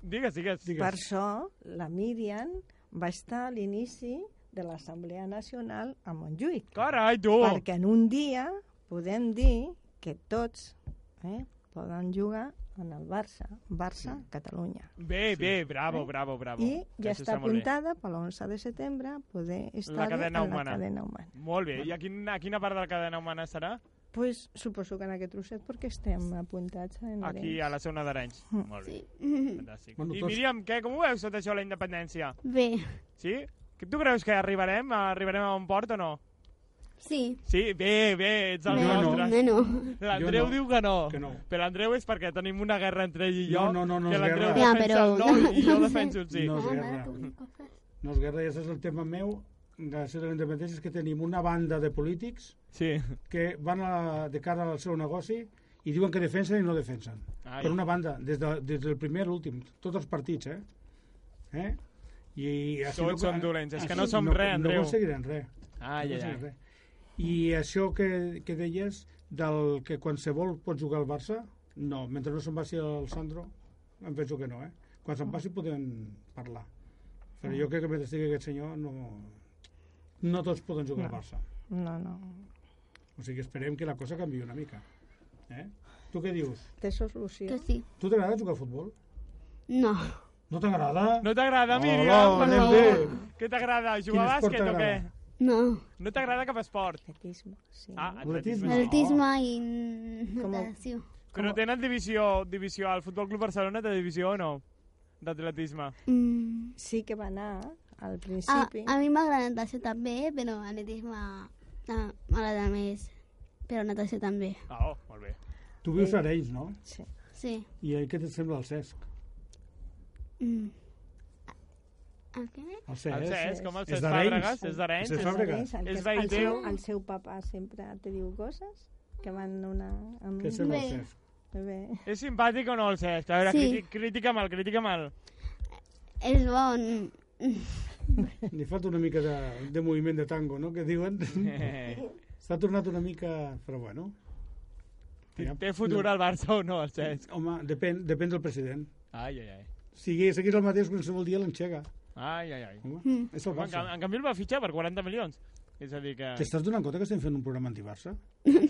Speaker 1: Digues, digues.
Speaker 5: Digues.
Speaker 6: Per això, la Míriam va estar a l'inici de l'Assemblea Nacional a Montjuïc.
Speaker 1: Carai, tu!
Speaker 6: Perquè en un dia podem dir que tots eh, poden jugar en el Barça, Barça-Catalunya.
Speaker 1: Bé, bé, bravo, bravo, bravo.
Speaker 6: I
Speaker 1: Que
Speaker 6: ja
Speaker 1: això
Speaker 6: està
Speaker 1: molt bé.
Speaker 6: apuntada per l'11 de setembre poder estar
Speaker 1: cadena
Speaker 6: en la
Speaker 1: humana.
Speaker 6: cadena humana.
Speaker 1: Molt bé. I a, quin, a quina part de la cadena humana serà?
Speaker 6: pues, suposo que en aquest trosset perquè estem apuntats en
Speaker 1: Aquí a la zona d'Arenys. Molt bé,
Speaker 4: Mm.
Speaker 1: fantàstic.
Speaker 5: Bueno, doncs-
Speaker 1: I
Speaker 5: tots-
Speaker 1: Míriam, què, com ho veus tot això de la independència?
Speaker 4: Bé,
Speaker 1: Sí? Que Tu creus que arribarem? Arribarem a bon port o no?
Speaker 4: sí.
Speaker 1: Sí? Bé, bé, ets el
Speaker 4: Bé,
Speaker 5: no.
Speaker 1: nostre.
Speaker 4: no.
Speaker 1: L'Andreu
Speaker 5: Jo no.
Speaker 1: diu que no.
Speaker 5: Que no.
Speaker 1: Però l'Andreu és perquè tenim una guerra entre ell i jo.
Speaker 5: No, no, no, no
Speaker 1: que
Speaker 5: és
Speaker 1: l'Andreu
Speaker 5: guerra.
Speaker 4: Ja,
Speaker 1: defensa
Speaker 4: però-
Speaker 1: el no i jo
Speaker 4: no sé.
Speaker 1: defenso
Speaker 5: *laughs*
Speaker 1: el sí.
Speaker 5: No.
Speaker 1: No.
Speaker 5: sé,
Speaker 4: Ah,
Speaker 5: res.
Speaker 4: mare, que bonic ho fas.
Speaker 5: No és guerra, i aquest és el tema meu de ser de la independència, és que tenim una banda de polítics
Speaker 1: Sí.
Speaker 5: que van a, de cara al seu negoci i diuen que defensen i no defensen.
Speaker 1: Ai.
Speaker 5: Per una banda, des, de, des del primer a l'últim, tots els partits, eh? eh? I així
Speaker 1: Tots som dolents, és que no
Speaker 5: així
Speaker 1: som res, Andreu.
Speaker 5: No aconseguirem res.
Speaker 1: Ah, ja,
Speaker 5: no
Speaker 1: ja.
Speaker 5: aconseguirem res. I això que, que deies, del que qualsevol pot jugar al Barça, no, mentre no se'n passi el Sandro, em penso que no, eh? Quan se'n passi podem parlar. Però jo crec que mentre estigui aquest senyor no, no tots poden jugar al Barça.
Speaker 6: No, no.
Speaker 5: O sigui, esperem que la cosa canvi una mica. Eh? Tu què dius?
Speaker 6: Té solució.
Speaker 4: Que sí.
Speaker 5: Tu t'agrada jugar a futbol?
Speaker 4: No.
Speaker 5: No t'agrada?
Speaker 1: No t'agrada,
Speaker 5: Hola,
Speaker 1: Míriam?
Speaker 5: anem bé.
Speaker 1: Què t'agrada? Jugar a
Speaker 5: Quin esport
Speaker 1: bàsquet o què?
Speaker 5: t'agrada?
Speaker 4: No.
Speaker 1: No t'agrada cap esport?
Speaker 6: Atletisme, sí.
Speaker 1: Ah,
Speaker 5: Atletisme.
Speaker 1: atletisme.
Speaker 5: No.
Speaker 4: Atletisme i
Speaker 6: Com a-
Speaker 4: natació.
Speaker 1: Però tenen divisió, divisió al Futbol Club Barcelona de divisió o no? D'atletisme.
Speaker 4: Mm.
Speaker 6: Sí que va anar al
Speaker 4: A,
Speaker 6: principi.
Speaker 4: Ah, a mi m'agrada natació també, però atletisme ah, m'agrada més. Però natació també.
Speaker 1: Ah, oh, molt bé.
Speaker 5: Tu vius a Arenys, no?
Speaker 6: Sí.
Speaker 4: Sí.
Speaker 5: I eh, què et sembla el Cesc?
Speaker 4: Mm. El què?
Speaker 5: El Cesc?
Speaker 1: El Cesc, com el
Speaker 5: És
Speaker 1: Cesc
Speaker 5: d'Arenys.
Speaker 1: Fàbregas, és d'Arenys.
Speaker 5: És de Fàbregas.
Speaker 6: El,
Speaker 1: És
Speaker 6: que- el, seu,
Speaker 1: veïteu.
Speaker 6: el seu papa sempre te diu coses que van una... Amb...
Speaker 5: Què et sembla el
Speaker 4: Bé.
Speaker 5: Cesc?
Speaker 6: Bé.
Speaker 1: És simpàtic o no el Cesc? A veure,
Speaker 4: Sí.
Speaker 1: sí. critica mal, critica mal.
Speaker 4: És bon.
Speaker 5: Li falta una mica de, de moviment de tango, no?, que
Speaker 1: *laughs*
Speaker 5: diuen. S'ha tornat una mica... Però bueno...
Speaker 1: Té té futur al Barça o no, el Cesc?
Speaker 5: Home, depèn, depèn del president.
Speaker 1: Ai, ai, ai.
Speaker 5: Sigui, seguís el mateix qualsevol dia l'enxega.
Speaker 1: Ai, ai, ai.
Speaker 5: Home,
Speaker 4: Mm.
Speaker 5: és el
Speaker 1: En,
Speaker 5: Barça.
Speaker 1: ca- en canvi el va fitxar per 40 milions. És a dir que...
Speaker 5: T'estàs donant compte que estem fent un programa anti-Barça?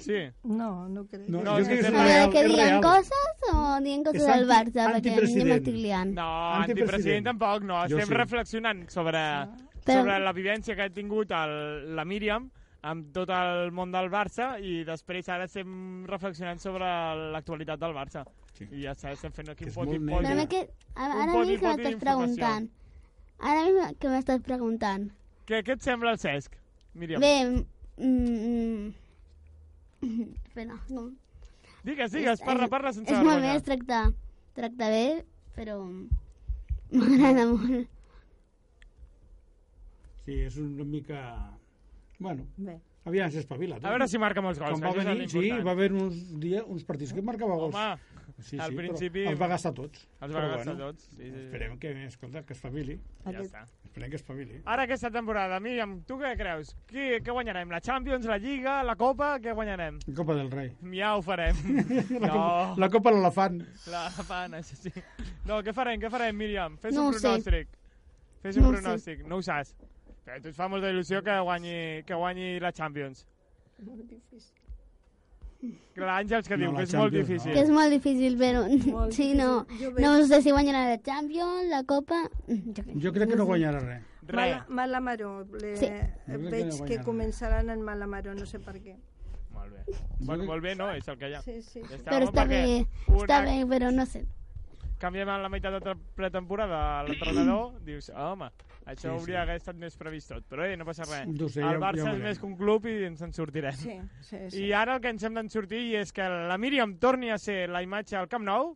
Speaker 1: Sí.
Speaker 6: No, no crec.
Speaker 1: No, és que
Speaker 5: és
Speaker 1: és
Speaker 4: A veure,
Speaker 5: real,
Speaker 4: que
Speaker 5: és
Speaker 4: diguin
Speaker 5: real.
Speaker 4: coses o diguin coses
Speaker 5: És
Speaker 4: del
Speaker 5: anti-
Speaker 4: Barça, perquè jo
Speaker 5: antipresident.
Speaker 4: m'estic liant.
Speaker 1: No,
Speaker 5: Antipresident.
Speaker 1: antipresident tampoc, no.
Speaker 5: Jo
Speaker 1: Estem
Speaker 5: sí.
Speaker 1: reflexionant sobre,
Speaker 4: Però-
Speaker 1: sobre la vivència que ha tingut el, la Míriam amb tot el món del Barça i després ara estem reflexionant sobre l'actualitat del Barça.
Speaker 5: Sí.
Speaker 1: I ja està, estem fent aquí
Speaker 5: Que
Speaker 1: un
Speaker 5: és
Speaker 1: pot i pot.
Speaker 5: molt
Speaker 4: Però
Speaker 5: negre.
Speaker 4: a mi que, ara, ara
Speaker 1: poti,
Speaker 4: mi que
Speaker 1: poti
Speaker 4: m'estàs
Speaker 1: d'informació.
Speaker 4: preguntant. Ara mi que m'estàs preguntant.
Speaker 1: Què, què et sembla el Cesc? Míriam,
Speaker 4: Bé, mm, *laughs* mm, espera, no.
Speaker 1: digues, digues, parla, parla sense
Speaker 4: És molt bé,
Speaker 1: vergonya.
Speaker 4: es tracta, tracta bé, *laughs* però m'agrada molt.
Speaker 5: Sí, és una mica... Bueno,
Speaker 6: Bé.
Speaker 5: aviam s'espavila. tu.
Speaker 1: A veure si marca molts gols. eh,
Speaker 5: Quan va
Speaker 1: que això és
Speaker 5: venir, sí,
Speaker 1: l'important.
Speaker 5: va haver uns, dia, uns partits que marcava gols.
Speaker 1: Home,
Speaker 5: sí, sí,
Speaker 1: al
Speaker 5: però
Speaker 1: principi-
Speaker 5: Els va gastar tots.
Speaker 1: els va
Speaker 5: Però
Speaker 1: gastar tots. Sí, sí, sí.
Speaker 5: Esperem que, escolta, que es famili.
Speaker 1: Ja
Speaker 6: Aquest,
Speaker 1: està.
Speaker 5: Esperem que es famili.
Speaker 1: Ara aquesta temporada, Míriam, tu què creus? Qui, què guanyarem? La Champions, la Lliga, la Copa? Què guanyarem?
Speaker 5: La Copa del Rei.
Speaker 1: Ja ho
Speaker 4: *laughs*
Speaker 1: farem.
Speaker 5: *laughs* La,
Speaker 1: no,
Speaker 5: Copa, la Copa de l'Elefant.
Speaker 1: la fan, això sí. No, què farem, què farem, Míriam? Fes
Speaker 4: No
Speaker 1: un
Speaker 4: ho sé.
Speaker 1: pronòstic. Fes un
Speaker 4: No ho sé.
Speaker 1: pronòstic, no ho saps. Però a tu et fa molta il·lusió que guanyi, que guanyi la Champions.
Speaker 7: Molt difícil.
Speaker 1: Que L'Àngels que
Speaker 5: No,
Speaker 1: diu
Speaker 5: la
Speaker 1: que és molt
Speaker 5: Champions no.
Speaker 1: difícil.
Speaker 4: Que és molt difícil, però *laughs*
Speaker 6: Molt
Speaker 4: sí,
Speaker 6: difícil.
Speaker 4: no.
Speaker 6: Jo veig-
Speaker 4: No sé si guanyarà la Champions, la Copa... *laughs* mm, Jo què sé.
Speaker 5: Jo crec que no guanyarà res.
Speaker 1: Re.
Speaker 6: Mala, mala maró. Le,
Speaker 4: Sí.
Speaker 5: crec que
Speaker 6: Veig que
Speaker 5: guanyaran.
Speaker 6: començaran en mala maró, no sé per què.
Speaker 1: Molt bé. Bueno, molt bé, no, és el que hi ha.
Speaker 6: Sí, sí.
Speaker 1: Ja està,
Speaker 4: Però
Speaker 1: home,
Speaker 4: està
Speaker 1: perquè
Speaker 4: bé,
Speaker 1: una-
Speaker 4: està bé, però no sé.
Speaker 1: Canviem a la meitat de tre- pretemporada a
Speaker 4: *clears throat*
Speaker 1: l'entrenador, dius, ah, home, això sí, hauria d'haver estat més previst tot. Però eh, no passa res.
Speaker 5: No Doncs sé, ja-
Speaker 1: el Barça
Speaker 5: ja
Speaker 1: és
Speaker 5: veurem.
Speaker 1: més que un club i ens en sortirem.
Speaker 6: Sí, sí, sí.
Speaker 1: I ara el que ens hem d'en sortir és que la Míriam torni a ser la imatge al Camp Nou,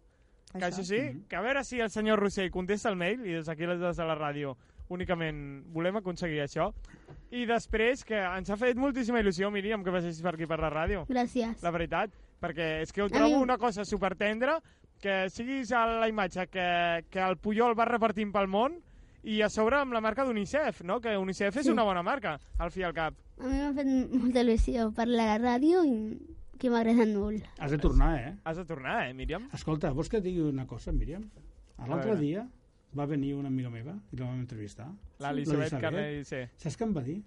Speaker 1: que això, sí, que a veure si el senyor Rossell contesta el mail, i des d'aquí des de la ràdio únicament volem aconseguir això. I després, que ens ha fet moltíssima il·lusió, Míriam, que passis per aquí per la ràdio.
Speaker 4: Gràcies.
Speaker 1: La veritat, perquè és que ho
Speaker 4: mi-
Speaker 1: trobo una cosa supertendra, que siguis a la imatge que, que el Puyol va repartint pel món i a sobre amb la marca d'UNICEF, no? Que UNICEF és
Speaker 4: Sí.
Speaker 1: una bona marca, al fi i al cap.
Speaker 4: A mi m'ha fet molta il·lusió parlar a la ràdio i que m'agrada molt.
Speaker 5: Has de tornar, eh?
Speaker 1: Has de tornar, eh, Míriam?
Speaker 5: Escolta, vols que et digui una cosa, Míriam? A
Speaker 1: A
Speaker 5: L'altre
Speaker 1: veure.
Speaker 5: dia va venir una amiga meva i la vam entrevistar.
Speaker 1: L'Elisabet
Speaker 5: L'Elisabet.
Speaker 1: Carné dice...
Speaker 5: Saps què em va dir?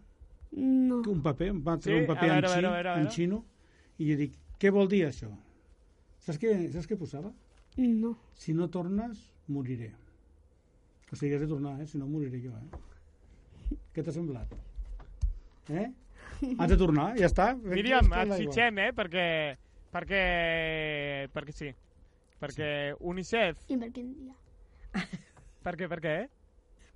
Speaker 4: No.
Speaker 5: Que un paper, em va treure
Speaker 1: Sí,
Speaker 5: un paper
Speaker 1: a
Speaker 5: en,
Speaker 1: veure, a
Speaker 5: xin,
Speaker 1: veure, a veure, a
Speaker 5: en
Speaker 1: veure.
Speaker 5: xino i jo dic, què vol dir això? Saps què, saps què posava?
Speaker 4: No.
Speaker 5: Si no tornes, moriré. O sigui, has de tornar, eh? Si no, moriré jo, eh? Què t'ha semblat? Eh? Has de tornar, ja està.
Speaker 1: Míriam,
Speaker 5: Està
Speaker 1: et
Speaker 5: l'aigua.
Speaker 1: fitxem, eh? Perquè, perquè, perquè sí. Perquè UNICEF...
Speaker 4: I per quin dia?
Speaker 1: Per què, per què?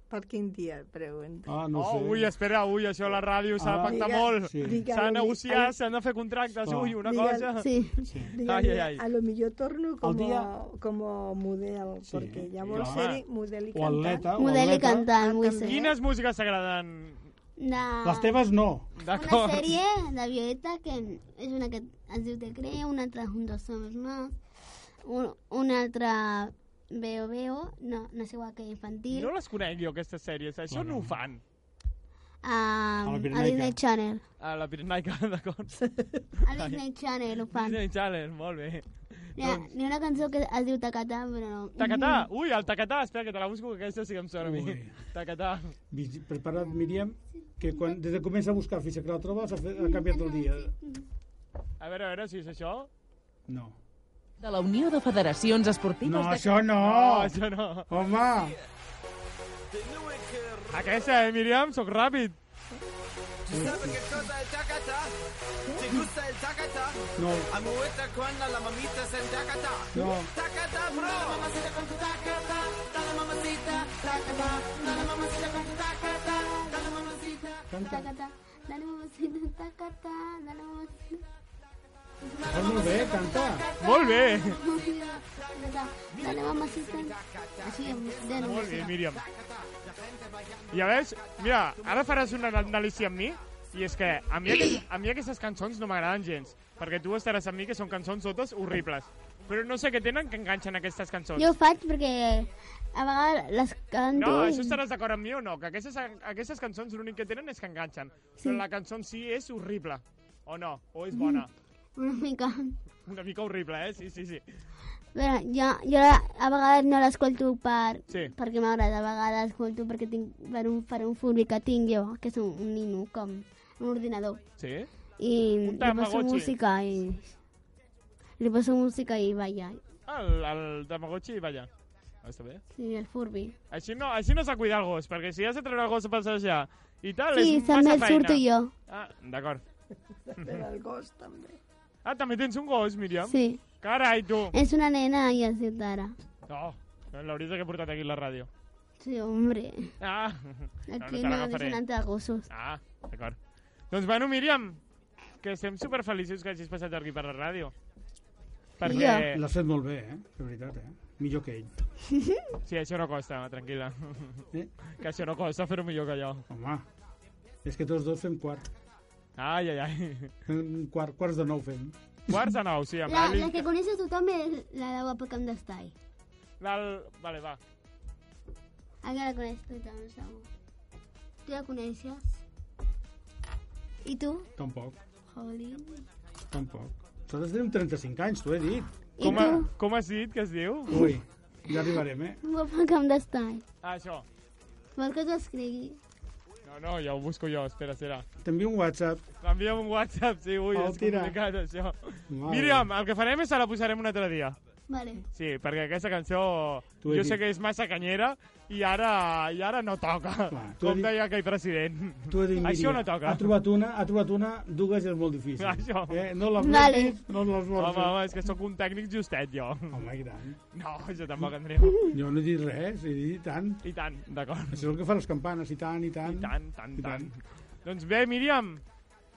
Speaker 6: Per quin dia, pregunta.
Speaker 5: Ah,
Speaker 1: No
Speaker 5: no ho
Speaker 1: oh,
Speaker 5: sé.
Speaker 1: ui, espera, ui, això la ràdio s'ha de
Speaker 5: Ah.
Speaker 1: pactar
Speaker 6: Diga-
Speaker 1: molt.
Speaker 5: Sí.
Speaker 6: diga-
Speaker 1: S'ha de
Speaker 6: Digue-li-
Speaker 1: negociar,
Speaker 6: al-
Speaker 1: s'han de fer contractes,
Speaker 5: Clar.
Speaker 1: ui, una
Speaker 6: Digue-
Speaker 1: cosa...
Speaker 4: Sí.
Speaker 5: Sí.
Speaker 1: Ay, ay, ay.
Speaker 6: A lo millor torno com,
Speaker 5: dia-
Speaker 6: com a model,
Speaker 5: Sí,
Speaker 6: perquè llavors
Speaker 1: clar.
Speaker 6: ser model i
Speaker 5: O
Speaker 6: cantant.
Speaker 5: atleta. O
Speaker 4: Model i
Speaker 5: atleta.
Speaker 1: Ah,
Speaker 4: cantant, vull
Speaker 6: també.
Speaker 4: ser. eh?
Speaker 1: Quines músiques t'agraden?
Speaker 4: De...
Speaker 5: Les teves no.
Speaker 1: *laughs*
Speaker 4: Una
Speaker 1: D'acord.
Speaker 4: sèrie de Violeta que és una que es diu Te creo, una altra Juntos Somos Más, un, una altra Veo Veo, no, no sé igual que infantil,
Speaker 1: No les conec jo, aquestes sèries. Això no ho fan.
Speaker 4: a,
Speaker 5: A la
Speaker 4: a
Speaker 5: Pirenaica.
Speaker 4: Disney
Speaker 1: *laughs*
Speaker 4: Um, Channel.
Speaker 1: A la Pirenaica, d'acord.
Speaker 4: A Disney Channel ho fan.
Speaker 1: *laughs* Disney Channel, molt bé.
Speaker 4: Hi ha, hi ha una cançó que es diu Tacatà, però no.
Speaker 1: Tacatà, ui, el tacatà, espera que te la busco, que aquesta sí que em sona a mi.
Speaker 5: Ui.
Speaker 1: Tacatà.
Speaker 5: Vigi- Prepara't, Míriam, que quan, des que comença a buscar fins que la trobes ha, fet, ha canviat el dia.
Speaker 1: A veure, a veure si és això.
Speaker 5: No.
Speaker 3: De la Unió de Federacions Esportives
Speaker 5: No,
Speaker 3: de
Speaker 5: això no!
Speaker 1: No, això no.
Speaker 5: Home!
Speaker 1: Aquesta, eh, Míriam, sóc ràpid.
Speaker 5: No, no. Canta.
Speaker 4: Tacatà, Mm-hmm. dale mamacita, tacatà, dale mamacita.
Speaker 5: Fa molt bé, canta.
Speaker 1: Molt bé.
Speaker 4: Dale mamacita. Així, de nou.
Speaker 1: Molt bé, Míriam. Ja veus? Mira, ara faràs una anàlisi amb mi i és que a mi, aquest, a mi aquestes cançons no m'agraden gens, perquè tu estaràs amb mi que són cançons totes horribles. Però no sé què tenen que enganxen aquestes cançons.
Speaker 4: Jo ho faig perquè a vegades les canto
Speaker 1: No,
Speaker 4: i-
Speaker 1: això estaràs d'acord amb mi o no? Que aquestes, aquestes cançons l'únic que tenen és que enganxen. Però la cançó en si és horrible. O no? O és bona?
Speaker 4: una mica.
Speaker 1: Una mica horrible, eh? Sí, sí, sí.
Speaker 4: Però jo, jo la- a vegades no l'escolto per,
Speaker 1: Sí.
Speaker 4: perquè m'agrada, a vegades l'escolto perquè tinc, per, un, per un furbi que tinc jo, que és un, un nino, com un ordinador.
Speaker 1: Sí?
Speaker 4: I
Speaker 1: Un
Speaker 4: li poso
Speaker 1: Tamagotchi.
Speaker 4: música i... Li poso música i balla.
Speaker 1: El, el Tamagotchi, vaja. Ah, Està bé.
Speaker 4: Sí, el furbi.
Speaker 1: Així no, així no s'ha cuidat el gos, perquè si has de treure el gos a passejar i tal,
Speaker 4: Sí,
Speaker 1: és massa
Speaker 4: també el
Speaker 1: feina.
Speaker 4: surto jo.
Speaker 1: Ah, d'acord.
Speaker 6: Però el gos també.
Speaker 1: Ah, també tens un gos, Míriam?
Speaker 4: Sí.
Speaker 1: Carai, tu!
Speaker 4: És una nena i es diu Tara.
Speaker 1: Oh, l'hauries d'haver portat aquí a la ràdio.
Speaker 4: Sí, hombre.
Speaker 1: Ah, *laughs*
Speaker 4: Aquí
Speaker 1: te
Speaker 4: no, no
Speaker 1: l'agafaré.
Speaker 4: deixen entrar gossos.
Speaker 1: ah d'acord. Doncs bueno, Míriam, que estem superfeliços que hagis passat aquí per la ràdio. Perquè...
Speaker 4: Jo.
Speaker 5: L'has fet molt bé, eh? De veritat, eh? Millor que ell.
Speaker 1: Sí, això no costa, tranquil·la. *laughs*
Speaker 5: Eh?
Speaker 1: Que això no costa fer-ho millor que jo.
Speaker 5: Home, és que tots dos fem quart.
Speaker 1: Ai, ai, ai.
Speaker 5: Fem quart, quarts de nou fem.
Speaker 1: Quarts de nou, sí, amb
Speaker 4: La,
Speaker 1: Eli.
Speaker 4: la que coneix a tothom és la de Guapa Camp d'Estai.
Speaker 1: Del... Vale, va.
Speaker 4: Encara la coneix tothom, segur. Tu la coneixes? I tu?
Speaker 5: Tampoc,
Speaker 4: Jolín.
Speaker 5: tampoc. Nosaltres tenim 35 anys, t'ho he dit.
Speaker 4: I
Speaker 1: Com,
Speaker 4: tu?
Speaker 1: ha, com has dit que es diu?
Speaker 5: Ui, ja arribarem, eh?
Speaker 4: Guapa Camp d'Estai.
Speaker 1: Ah, això.
Speaker 4: Vols que t'ho escrigui?
Speaker 1: No, no, ja ho busco jo, espera, espera.
Speaker 5: T'envio un WhatsApp.
Speaker 1: M'envia'm un WhatsApp, sí, ui,
Speaker 5: Au,
Speaker 1: és
Speaker 5: Oh, tira.
Speaker 1: complicat, això.
Speaker 5: Mare.
Speaker 1: Míriam, el que farem és que la posarem un altre dia.
Speaker 4: Vale.
Speaker 1: Sí, perquè aquesta cançó
Speaker 5: T'ho he
Speaker 1: jo sé
Speaker 5: dit.
Speaker 1: que és massa canyera i ara, i ara no toca,
Speaker 5: Clar, t'ho he
Speaker 1: com
Speaker 5: dit.
Speaker 1: deia aquell president.
Speaker 5: T'ho he dit,
Speaker 1: Això
Speaker 5: Míriam,
Speaker 1: no toca.
Speaker 5: Ha trobat una, ha trobat una, dues és molt
Speaker 1: *laughs*
Speaker 5: difícil.
Speaker 1: Això.
Speaker 5: Eh? No l'has
Speaker 4: Vale.
Speaker 5: vale. vist, no l'has
Speaker 1: Home,
Speaker 5: vist.
Speaker 1: home, és que sóc un tècnic justet, jo. *laughs*
Speaker 5: Home, i tant.
Speaker 1: No, jo tampoc, Andreu.
Speaker 5: Jo no he dit res, he dit i tant.
Speaker 1: I tant, d'acord.
Speaker 5: Això és el que fan les campanes, i tant, i tant.
Speaker 1: I tant, tant,
Speaker 5: I
Speaker 1: tant.
Speaker 5: tant.
Speaker 1: Doncs bé, Míriam,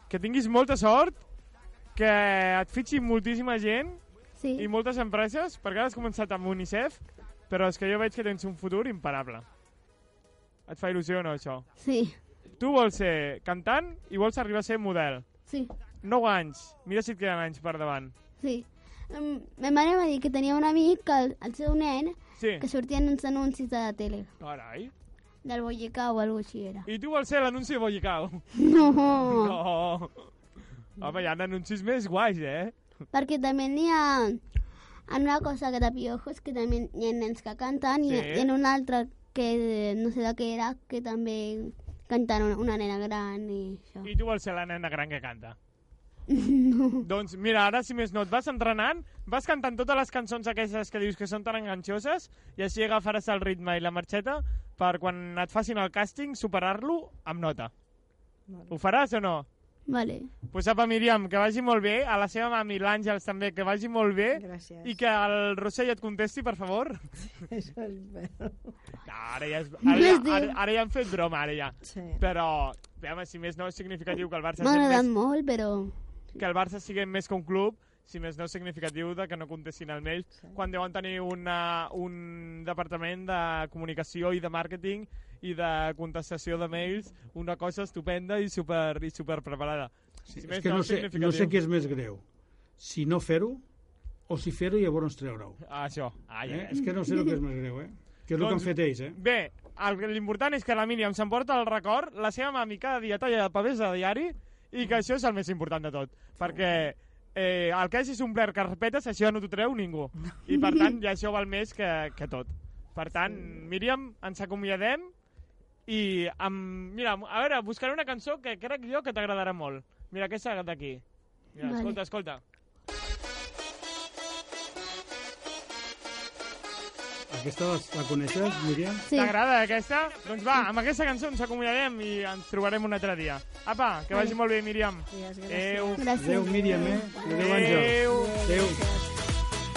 Speaker 1: que tinguis molta sort, que et fitxi moltíssima gent
Speaker 4: Sí.
Speaker 1: i moltes empreses, perquè ara has començat amb UNICEF, però és que jo veig que tens un futur imparable. Et fa il·lusió o no, això?
Speaker 4: Sí.
Speaker 1: Tu vols ser cantant i vols arribar a ser model.
Speaker 4: Sí.
Speaker 1: 9 anys. Mira si et queden anys per davant.
Speaker 4: Sí. Em- Ma mare va dir que tenia un amic, que el, el seu nen,
Speaker 1: Sí.
Speaker 4: que sortien uns anuncis de la tele,
Speaker 1: Carai.
Speaker 4: del Boyacá o alguna així
Speaker 1: *laughs*
Speaker 4: era.
Speaker 1: I tu vols ser l'anunci de Bollicau?
Speaker 4: No.
Speaker 1: No. Home, hi ha anuncis més guais, eh?
Speaker 4: Perquè també n'hi ha en una cosa que de piojos que també hi ha nens que canten
Speaker 1: Sí.
Speaker 4: i, i en una altra que eh, no sé de què era que també cantant una, una nena gran i això.
Speaker 1: I tu vols ser la nena gran que canta? No. Doncs mira, ara si més no et vas entrenant, vas cantant totes les cançons aquestes que dius que són tan enganxoses i així agafaràs el ritme i la marxeta per quan et facin el càsting superar-lo amb nota.
Speaker 6: Molt bé.
Speaker 1: Ho faràs o no?
Speaker 4: Vale.
Speaker 1: Pues apa, Míriam, que vagi molt bé. A la seva mami, l'Àngels, també, que vagi molt bé.
Speaker 6: Gràcies.
Speaker 1: I que el Rossell et contesti, per favor.
Speaker 6: Això és...
Speaker 1: No, ara ja, és, ara, ja, ara, ara ja hem fet broma, ara ja.
Speaker 6: Sí.
Speaker 1: Però, home, si més no és significatiu que el Barça...
Speaker 4: M'ha
Speaker 1: sigui
Speaker 4: agradat
Speaker 1: més,
Speaker 4: molt, però...
Speaker 1: que el Barça sigui més que un club, si més no és significatiu de que no contestin el mail, sí. quan deuen tenir una, un departament de comunicació i de màrqueting i de contestació de mails, una cosa estupenda i super, i super preparada.
Speaker 5: Sí, és que no sé,
Speaker 1: significatiu.
Speaker 5: no sé què és més greu. Si no fer-ho o si fer-ho i llavors treure-ho.
Speaker 1: Ah, Això. Ah, ja,
Speaker 5: Eh? És que no sé el que és més greu, eh? Que és el que han
Speaker 1: Doncs-
Speaker 5: fet ells, eh?
Speaker 1: Bé, el- l'important és que la Míriam s'emporta el record, la seva mami cada dia talla de papers de diari i que això és el més important de tot, perquè eh, el que hagis omplert carpetes, això ja no t'ho treu ningú. I per tant, ja això val més que, que tot. Per tant, Míriam, ens acomiadem i amb... Mira, a veure, buscaré una cançó que crec jo que t'agradarà molt. Mira, aquesta d'aquí. Mira,
Speaker 4: Vale.
Speaker 1: escolta, escolta.
Speaker 5: Aquesta la, la coneixes, Miriam?
Speaker 4: Sí.
Speaker 1: T'agrada aquesta? Doncs va, amb aquesta cançó ens acomiadem i ens trobarem un altre dia. Apa, que vagi molt bé, Míriam.
Speaker 6: Gràcies.
Speaker 1: Adéu.
Speaker 4: Gràcies.
Speaker 5: Adéu, Míriam, eh? Adéu, Àngel.
Speaker 1: Adéu.
Speaker 5: Adéu.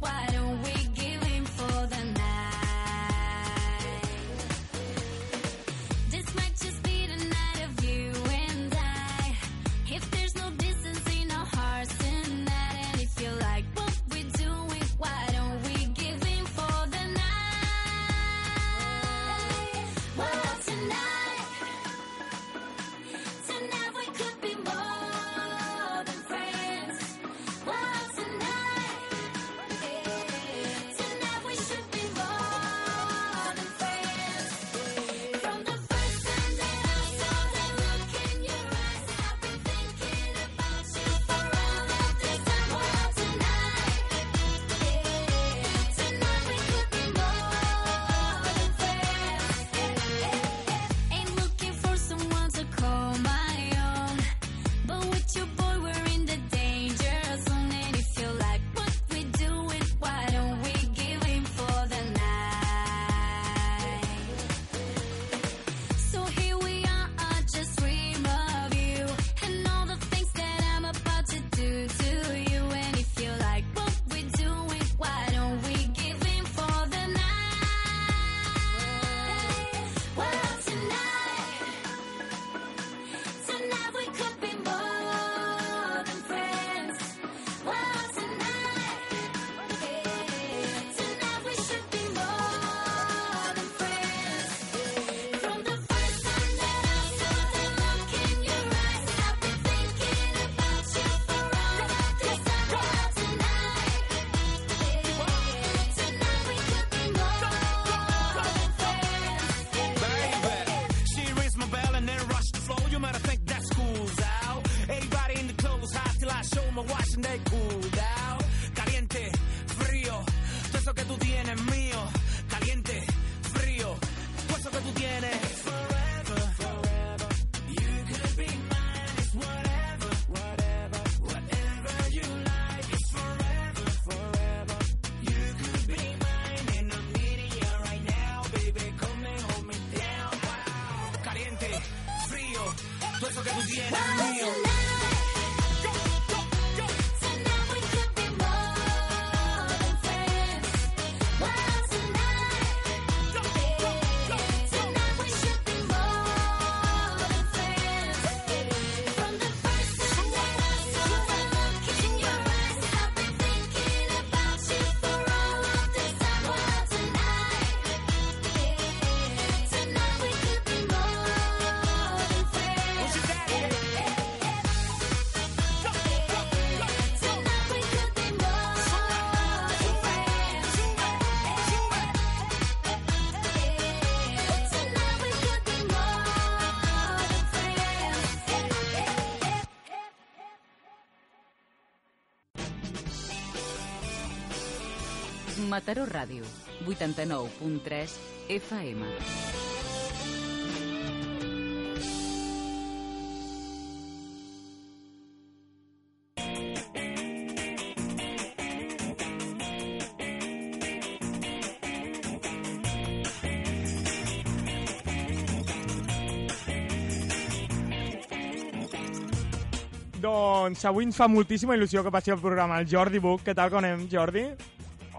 Speaker 8: Why don't we give in for the night? This might just be the night of you and I. If there's no distance in our hearts tonight, and if you like what we're doing, why don't we give in for the night? Well, tonight, tonight we could be more than friends. Well, tonight, tonight we should be more than friends. From the first time that I saw that look in your eyes, I've been thinking about you for all of this time. Well, tonight, tonight we could be more than friends. Ain't looking for someone to call my own, but with your boy we're in the danger zone. And if you like what we're doing, why don't we give in for the night? So here we are, I just dream of you and all the things that I'm about to do to you. And if you like what we're doing, why don't we give in for the night? Well, tonight, tonight we could be more than friends. Well, tonight, tonight we should be more than friends. From the first time that I saw the look in your eyes, I've been thinking about you for all of this time. Well, tonight, tonight we could be more than friends.
Speaker 9: She rings my bell and then rush the floor. You might think that school's out. Everybody in the club was hot till I show my watch and they cooled out. Caliente, frío, todo eso que tú tienes es mío. Caliente, frío, todo eso que tú tienes. Forever, forever. You could be mine, it's whatever, whatever, whatever you like. It's forever, forever. You could be mine, and I'm needing you right now, baby. Come and hold me down. Wow. Caliente, frío, todo eso que tú tienes es mío.
Speaker 8: Tonight we could be more than friends. Well, tonight, tonight we should be more than friends. From the first time that I saw that look in your eyes, I've been thinking about you for all of this time. Well, tonight, tonight we could be more than friends.
Speaker 10: Mataró Ràdio, 89.3 FM.
Speaker 1: Doncs avui ens fa moltíssima il·lusió que passi el programa el Jordi Buc. Què tal, com anem, Jordi?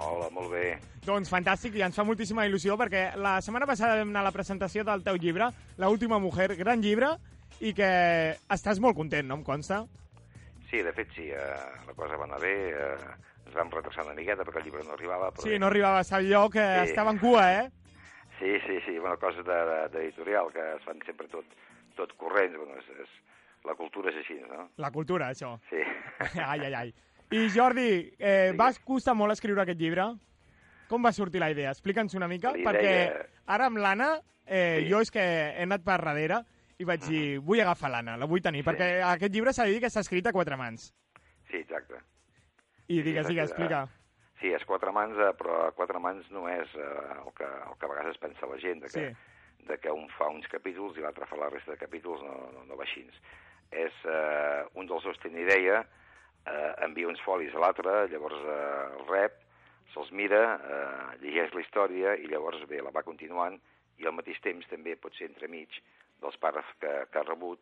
Speaker 11: Hola, molt bé.
Speaker 1: Doncs fantàstic, i ens fa moltíssima il·lusió perquè la setmana passada vam anar a la presentació del teu llibre, La última mujer, gran llibre, i que estàs molt content, no em consta?
Speaker 11: Sí, de fet, sí, eh, la cosa va anar bé. Eh, ens vam retrasar una miqueta perquè el llibre no arribava. Però...
Speaker 1: Sí, no arribava a ser lloc, eh,
Speaker 11: Sí.
Speaker 1: estava en cua, eh?
Speaker 11: Sí, sí, sí, bueno, cosa de- d'editorial, que es fan sempre tot, tot corrents. Bueno, és, és, la cultura és així, no?
Speaker 1: La cultura, això.
Speaker 11: Sí. *laughs*
Speaker 1: *laughs* Ai, ai, ai. I Jordi, eh, va costar molt escriure aquest llibre? Com va sortir la idea? Explica'ns una mica,
Speaker 11: La idea-
Speaker 1: perquè ara amb l'Anna, eh,
Speaker 11: Sí.
Speaker 1: jo és que he anat per darrere i vaig dir, vull agafar l'Anna, la vull tenir,
Speaker 11: Sí.
Speaker 1: perquè aquest llibre s'ha de dir que està escrit a quatre mans.
Speaker 11: Sí, exacte.
Speaker 1: I digues,
Speaker 11: exacte.
Speaker 1: digues, explica.
Speaker 11: Sí, és quatre mans, eh, però quatre mans no és eh, el, que, el que a vegades es pensa la gent, de que, sí. de que un fa uns capítols i l'altre fa la resta de capítols, no, no, no va així. És, eh, un dels dos té una idea, eh, envia uns folis a l'altre, llavors eh, el rep, se'ls mira, eh, llegeix la història i llavors bé, la va continuant i al mateix temps també pot ser entremig dels pares que, que ha rebut,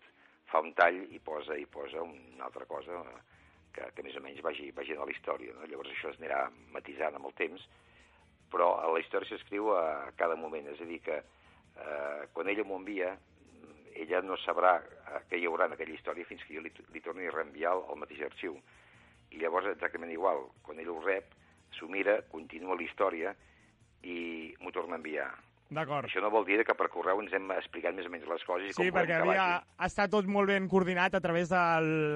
Speaker 11: fa un tall i posa i posa una altra cosa eh, que, que més o menys vagi, vagi anar a la història. No? Llavors això es anirà matisant amb el temps, però la història s'escriu a cada moment, és a dir que eh, quan ella m'ho envia, mm, ella no sabrà eh, què hi haurà en aquella història fins que jo li, li torni a reenviar al- al mateix arxiu. I llavors exactament igual, quan ell ho rep, s'ho mira, continua la història i m'ho torna a enviar.
Speaker 1: D'acord.
Speaker 11: Això no vol dir que per correu ens hem explicat més o menys les coses i com
Speaker 1: Sí, perquè
Speaker 11: volem que
Speaker 1: havia,
Speaker 11: vagi.
Speaker 1: està tot molt ben coordinat a través de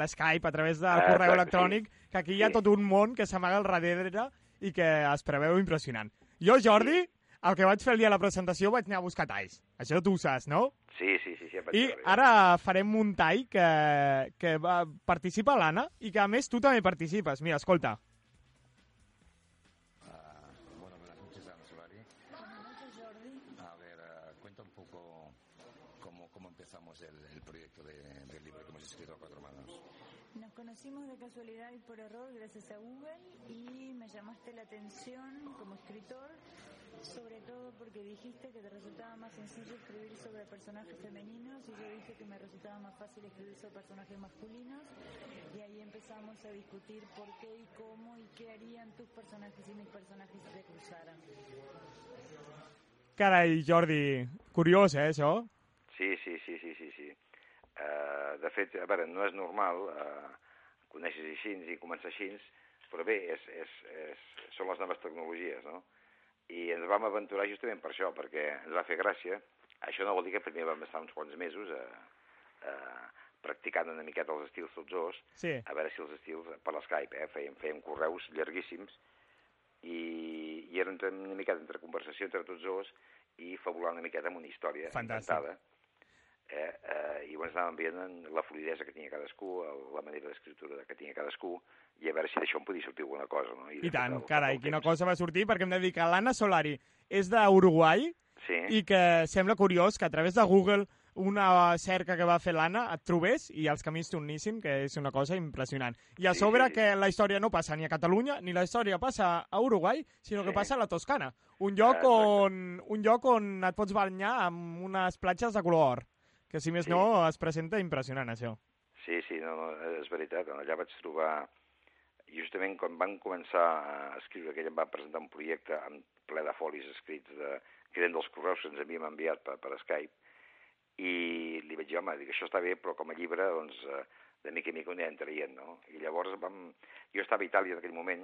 Speaker 1: l'Skype, a través del
Speaker 11: Ah,
Speaker 1: correu
Speaker 11: exacte,
Speaker 1: electrònic, que aquí hi ha tot un món que s'amaga al darrere i que es preveu impressionant. Jo, Jordi, el que vaig fer el dia de la presentació vaig anar a buscar talls. Això tu ho saps, no?
Speaker 11: Sí, sí, sí, sí, em vaig
Speaker 1: I
Speaker 11: veure.
Speaker 1: ara farem un tall que, que va, participa l'Anna i que, a més, tu també participes. Mira, escolta.
Speaker 12: Ah, Bueno, buenas noches, Ana Solari. A ver, eh, cuenta un poco cómo, cómo empezamos el, el proyecto de- del libro que hemos escrito a cuatro manos.
Speaker 13: Nos conocimos de casualidad y por error gracias a Google y me llamaste la atención como escritor, sobre todo porque dijiste que te resultaba más sencillo escribir sobre personajes femeninos y yo dije que me resultaba más fácil escribir sobre personajes masculinos y ahí empezamos a discutir por qué y cómo y qué harían tus personajes y mis personajes si se cruzaran.
Speaker 1: Carai, Jordi, curiós, eh, això?
Speaker 11: Sí, sí, sí, sí, sí, sí. Uh, de fet, a veure, no és normal uh, conèixer així i començar així, però bé, és, és, és, són les noves tecnologies, no? I ens vam aventurar justament per això, perquè ens va fer gràcia. Això no vol dir que primer vam estar uns quants mesos a, a practicant una miqueta els estils tots dos,
Speaker 1: Sí.
Speaker 11: a veure si els estils per l'Skype, eh? fèiem, fèiem correus llarguíssims i, i era entre, una miqueta entre conversació entre tots dos i fabular una miqueta amb una història
Speaker 1: Fantàstic.
Speaker 11: inventada. Eh, eh, I llavors anàvem veient en la fluidesa que tenia cadascú, el- la manera d'escriptura que tenia cadascú, i a veure si d'això en podia sortir alguna cosa. No?
Speaker 1: I
Speaker 11: després,
Speaker 1: tant,
Speaker 11: al-
Speaker 1: carai, quina cosa va sortir, perquè hem de dir que l'Anna Solari és d'Uruguai
Speaker 11: Sí.
Speaker 1: i que sembla curiós que a través de Google una cerca que va fer l'Anna et trobés i els camins t'unissin, que és una cosa impressionant. I a
Speaker 11: Sí,
Speaker 1: sobre
Speaker 11: sí, sí.
Speaker 1: que la història no passa ni a Catalunya, ni la història passa a Uruguai, sinó que
Speaker 11: Sí.
Speaker 1: passa a la Toscana, un lloc,
Speaker 11: Exacte.
Speaker 1: on, un lloc on et pots banyar amb unes platges de color or, que si més
Speaker 11: Sí.
Speaker 1: no es presenta impressionant això.
Speaker 11: Sí, sí, no, no, és veritat. Allà vaig trobar... Justament quan van començar a escriure aquell, em van presentar un projecte amb ple de folis escrits de, que eren dels correus que ens havíem enviat per, per Skype, i li vaig dir, home, dic, això està bé, però com a llibre, doncs, eh, de mica en mica on en traient, no? I llavors vam... Jo estava a Itàlia en aquell moment,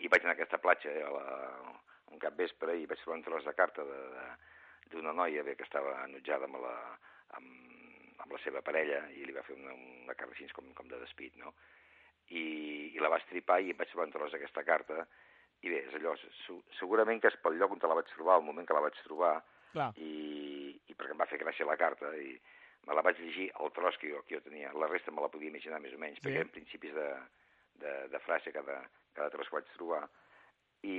Speaker 11: i vaig anar a aquesta platja eh, a la, un cap vespre i vaig trobar un tros de carta de- de- d'una noia bé, que estava enutjada amb la, amb, amb la seva parella i li va fer una, una carta així com, com de despit, no? I, I la va estripar i em vaig trobar un tros d'aquesta carta i bé, és allò, su- segurament que és pel lloc on te la vaig trobar, el moment que la vaig trobar,
Speaker 1: Clar.
Speaker 11: i, i perquè em va fer gràcia la carta i me la vaig llegir el tros que jo, que jo tenia, la resta me la podia imaginar més o menys,
Speaker 1: Sí.
Speaker 11: perquè eren principis de, de, de frase cada, cada tros que vaig trobar i,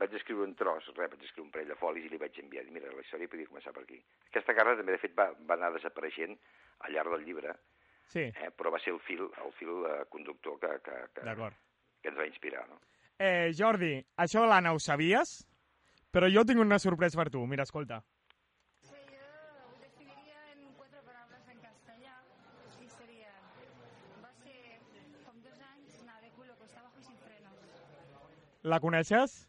Speaker 11: vaig escriure un tros, res, vaig escriure un parell de folis i li vaig enviar. Dic, Mira, la història podria començar per aquí. Aquesta guerra també, de fet, va, va anar desapareixent al llarg del llibre,
Speaker 1: Sí,
Speaker 11: eh? però va ser el fil, el fil eh, conductor que, que, que,
Speaker 1: d'acord.
Speaker 11: que ens va inspirar. No?
Speaker 1: Eh, Jordi, això de l'Anna ho sabies? Però jo tinc una sorpresa per tu. Mira, escolta.
Speaker 8: Y sería, va a ser con dos años, nada de culo, costa abajo y sin frenos.
Speaker 1: La coneixes?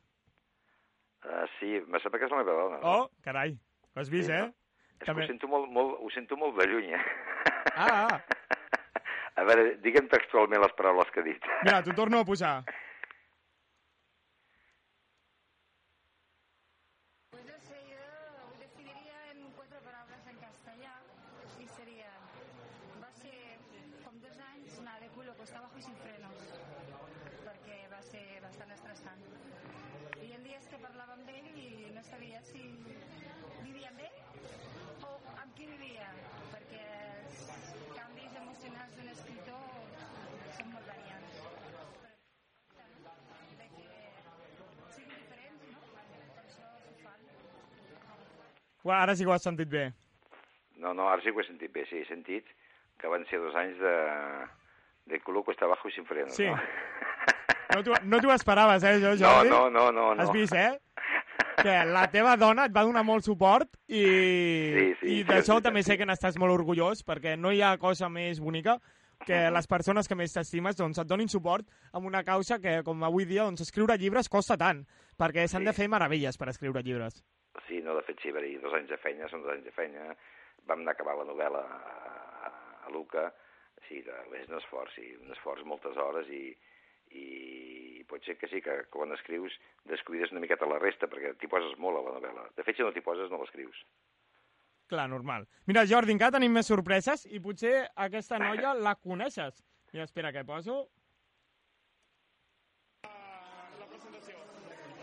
Speaker 11: Uh, sí, me sembla que és la meva dona. No?
Speaker 1: Oh, carai. Ho has vist,
Speaker 11: Sí,
Speaker 1: eh?
Speaker 11: és que ho sento molt, molt, ho sento molt de lluny. eh?
Speaker 1: Ah, ah.
Speaker 11: A veure, digue'm textualment les paraules que he dit.
Speaker 1: Mira, t'ho torno a posar.
Speaker 8: Pues no sé, yo decidiría en cuatro palabras en castellà y sería, va ser com dos anys anar de culo costa abajo i sin frenos perquè va ser bastant estressant. Hi havia dies que parlava amb ell i no sabia si vivia amb ell o amb qui vivia, perquè els canvis emocionals d'un escriptor són molt variants. De que siguin diferents, no? Per això s'ho fan.
Speaker 1: Ua, Ara sí que ho has sentit bé.
Speaker 11: No, no, ara sí que ho he sentit bé, sí, he sentit que van ser dos anys de, de color cuesta abajo i sin frenos.
Speaker 1: Sí. *laughs*
Speaker 11: No?
Speaker 1: No t'ho no t'ho esperaves, eh, jo,
Speaker 11: No,
Speaker 1: Jordi?
Speaker 11: no, no, no, no.
Speaker 1: Has vist, eh? Que la teva dona et va donar molt suport i,
Speaker 11: Sí, sí,
Speaker 1: i
Speaker 11: sí, és
Speaker 1: d'això
Speaker 11: veritat,
Speaker 1: també sé que n'estàs molt orgullós perquè no hi ha cosa més bonica que les persones que més t'estimes doncs, et donin suport amb una causa que, com avui dia, doncs, escriure llibres costa tant, perquè s'han de fer meravelles per escriure llibres.
Speaker 11: Sí, no, de fet sí, va dir dos anys de feina, són dos anys de feina. Vam anar a acabar la novel·la a, a Luca, sí, de, és un esforç, sí, un esforç moltes hores i, i pot ser que sí, que, que quan escrius descuides una miqueta la resta, perquè t'hi poses molt a la novel·la. De fet, si no t'hi poses, no l'escrius.
Speaker 1: Clar, normal. Mira, Jordi, encara tenim més sorpreses i potser aquesta noia la coneixes. Mira, espera, que poso...
Speaker 4: La presentació.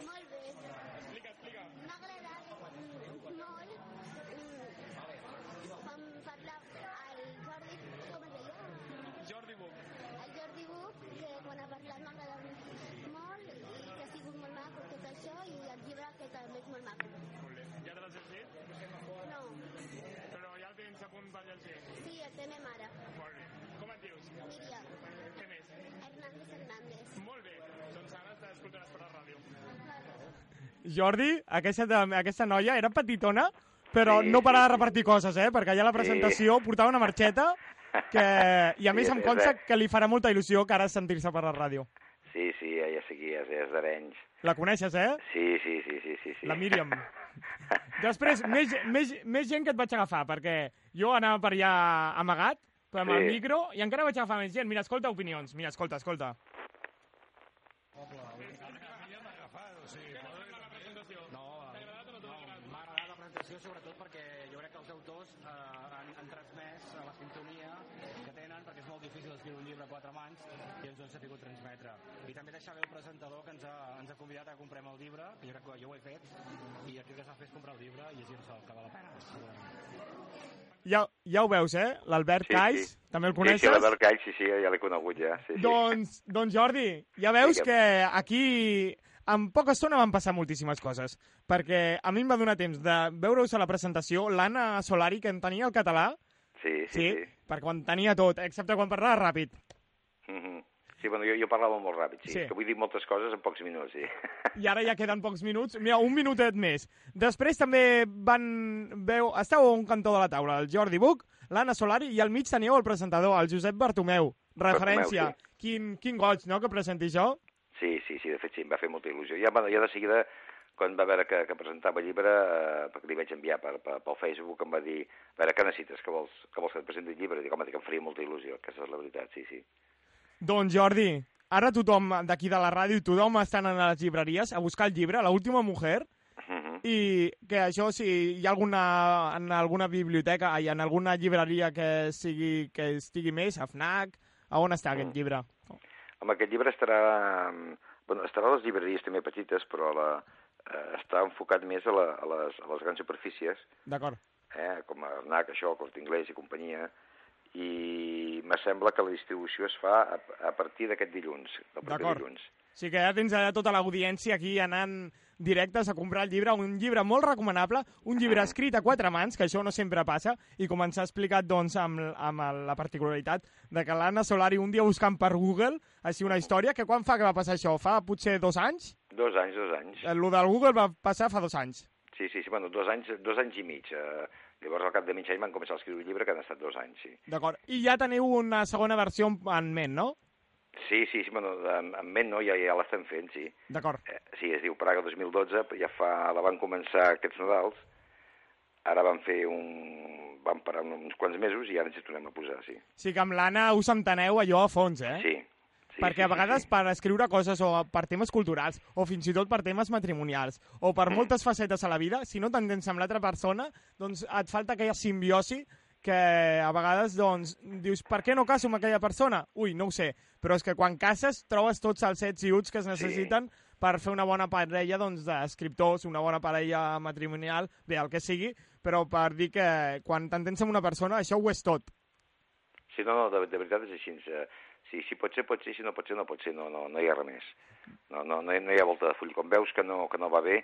Speaker 4: Molt bé. Explica, explica. M'ha agradat mm, molt mm, quan parlava el Jordi, com es deia? Jordi Buch. El Jordi Buch, que quan ha parlat m'ha agradat molt i que ha sigut molt maco tot això i el llibre que també és molt maco.
Speaker 1: Molt bé. Ja te l'has llegit?
Speaker 4: No,
Speaker 1: Però ja el tens a punt de llegir.
Speaker 4: sí, el té ma mare.
Speaker 1: Molt bé. Com et dius?
Speaker 4: Miriam.
Speaker 1: Què més?
Speaker 4: Hernández Hernández.
Speaker 1: Molt bé. Doncs ara t'escoltaràs per la ràdio. Jordi, aquesta, de- aquesta noia era petitona, però
Speaker 11: Sí,
Speaker 1: no
Speaker 11: sí,
Speaker 1: parava de repartir coses, eh? Perquè allà a la
Speaker 11: Sí.
Speaker 1: presentació portava una marxeta que... I a
Speaker 11: Sí,
Speaker 1: més
Speaker 11: és-
Speaker 1: em
Speaker 11: és
Speaker 1: consta
Speaker 11: de-
Speaker 1: que li farà molta il·lusió que ara sentir-se per la ràdio.
Speaker 11: Sí, sí, ja, ja sé qui és, és d'Arenys.
Speaker 1: La coneixes, eh?
Speaker 11: Sí, sí, sí, sí, sí, sí.
Speaker 1: La Míriam. Després, més, més, més gent que et vaig agafar, perquè jo anava per allà amagat, però amb el
Speaker 11: Sí.
Speaker 1: micro, i encara vaig agafar més gent. Mira, escolta opinions. Mira, escolta, escolta.
Speaker 5: M'ha agradat la presentació sobretot perquè jo crec que els autors eh, han, han transmès eh, la sintonia que tenen perquè és molt difícil escriure un llibre a quatre mans i ens ho hem sabut transmetre. I també deixar bé el presentador que ens ha, ens ha convidat a que comprem el llibre, que jo crec que jo ho he fet, i aquí el que s'ha de fer és comprar el llibre i llegir-se'l, que val la pena, segurament.
Speaker 1: Ja, ja ho veus, eh? L'Albert
Speaker 11: Sí,
Speaker 1: Cais,
Speaker 11: sí.
Speaker 1: també el
Speaker 11: Sí, sí,
Speaker 1: coneixes?
Speaker 11: l'Albert Call, sí, sí, ja l'he conegut ja. Sí, sí.
Speaker 1: Doncs, doncs Jordi, ja veus
Speaker 11: Digue'm.
Speaker 1: que aquí en poca estona van passar moltíssimes coses, perquè a mi em va donar temps de veure-us a la presentació l'Anna Solari, que en tenia el català,
Speaker 11: Sí, sí,
Speaker 1: sí,
Speaker 11: sí.
Speaker 1: perquè quan tenia tot, excepte quan parlava ràpid.
Speaker 11: Mhm. Sí, bueno, jo, jo parlava molt ràpid, sí.
Speaker 1: Sí.
Speaker 11: Que vull dir moltes coses en pocs minuts, sí. *laughs*
Speaker 1: i ara ja queden pocs minuts. Mira, un minutet més. Després també van... Veu, estàveu a un cantó de la taula, el Jordi Buch, l'Anna Solari i al mig teníeu el presentador, el Josep Bartomeu. Referència.
Speaker 11: Bartomeu,
Speaker 1: Quin, quin goig, no?, que presenti jo.
Speaker 11: Sí, sí, sí, de fet sí, em va fer molta il·lusió. Ja, bueno, ja de seguida, quan va veure que, que presentava el llibre, eh, perquè li vaig enviar per, per, pel Facebook, em va dir, a veure, què necessites, que vols que, vols que et presenti el llibre? Dic, home, que em faria molta il·lusió, aquesta és la veritat, sí, sí.
Speaker 1: Doncs, Jordi, ara tothom d'aquí de la ràdio, tothom estan a les llibreries a buscar el llibre, l'última mujer,
Speaker 11: Mhm.
Speaker 1: i que això, si hi ha alguna, en alguna biblioteca, ai, en alguna llibreria que, sigui, que estigui més, a FNAC, a on està
Speaker 11: Mm.
Speaker 1: aquest llibre?
Speaker 11: Home, aquest llibre estarà... mm, Bueno, estarà a les llibreries també petites, però la, eh, està enfocat més a, la, a, les, a les grans superfícies,
Speaker 1: D'acord.
Speaker 11: eh, com a Arnac, això, Corte Inglés i companyia, i me sembla que la distribució es fa a, a partir d'aquest dilluns, del primer
Speaker 1: D'acord.
Speaker 11: dilluns.
Speaker 1: O sigui que ja tens allà tota l'audiència aquí anant directes a comprar el llibre, un llibre molt recomanable, un llibre escrit a quatre mans, que això no sempre passa, i començar a explicar doncs, amb, amb la particularitat de que l'Anna Solari un dia buscant per Google així una història, que quan fa que va passar això? Fa potser dos anys?
Speaker 11: Dos anys, dos anys.
Speaker 1: Eh, Lo del Google va passar fa dos anys.
Speaker 11: Sí, sí, sí, bueno, dos anys, dos anys i mig. Eh, llavors, al cap de mig any van començar a escriure un llibre que han estat dos anys, sí.
Speaker 1: D'acord. I ja teniu una segona versió en ment, no?
Speaker 11: Sí, sí, sí bueno, en, en ment no, ja, ja l'estem fent, sí.
Speaker 1: D'acord.
Speaker 11: Eh, sí, es diu Praga 2012, ja fa, la van començar aquests Nadals, ara van fer un... van parar uns quants mesos i ara ens hi tornem a posar, sí.
Speaker 1: O sigui que amb l'Anna us enteneu allò a fons, eh?
Speaker 11: Sí. sí
Speaker 1: Perquè
Speaker 11: sí,
Speaker 1: a vegades
Speaker 11: Sí,
Speaker 1: per escriure coses o per temes culturals o fins i tot per temes matrimonials o per
Speaker 11: Mm.
Speaker 1: moltes facetes a la vida, si no t'entens amb l'altra persona, doncs et falta aquella simbiosi que a vegades doncs, dius per què no caso amb aquella persona? Ui, no ho sé, però és que quan cases trobes tots els sets i uts que es necessiten sí. per fer una bona parella doncs, d'escriptors, una bona parella matrimonial, bé, el que sigui, però per dir que quan t'entens amb una persona això ho és tot.
Speaker 11: sí. sí no, no, de, de veritat és així. Eh, si, si pot ser, pot ser, si no pot ser, no pot ser, no, no, no hi ha res més. No, no, no, hi, no hi ha volta de full. Com veus que no, que no va bé,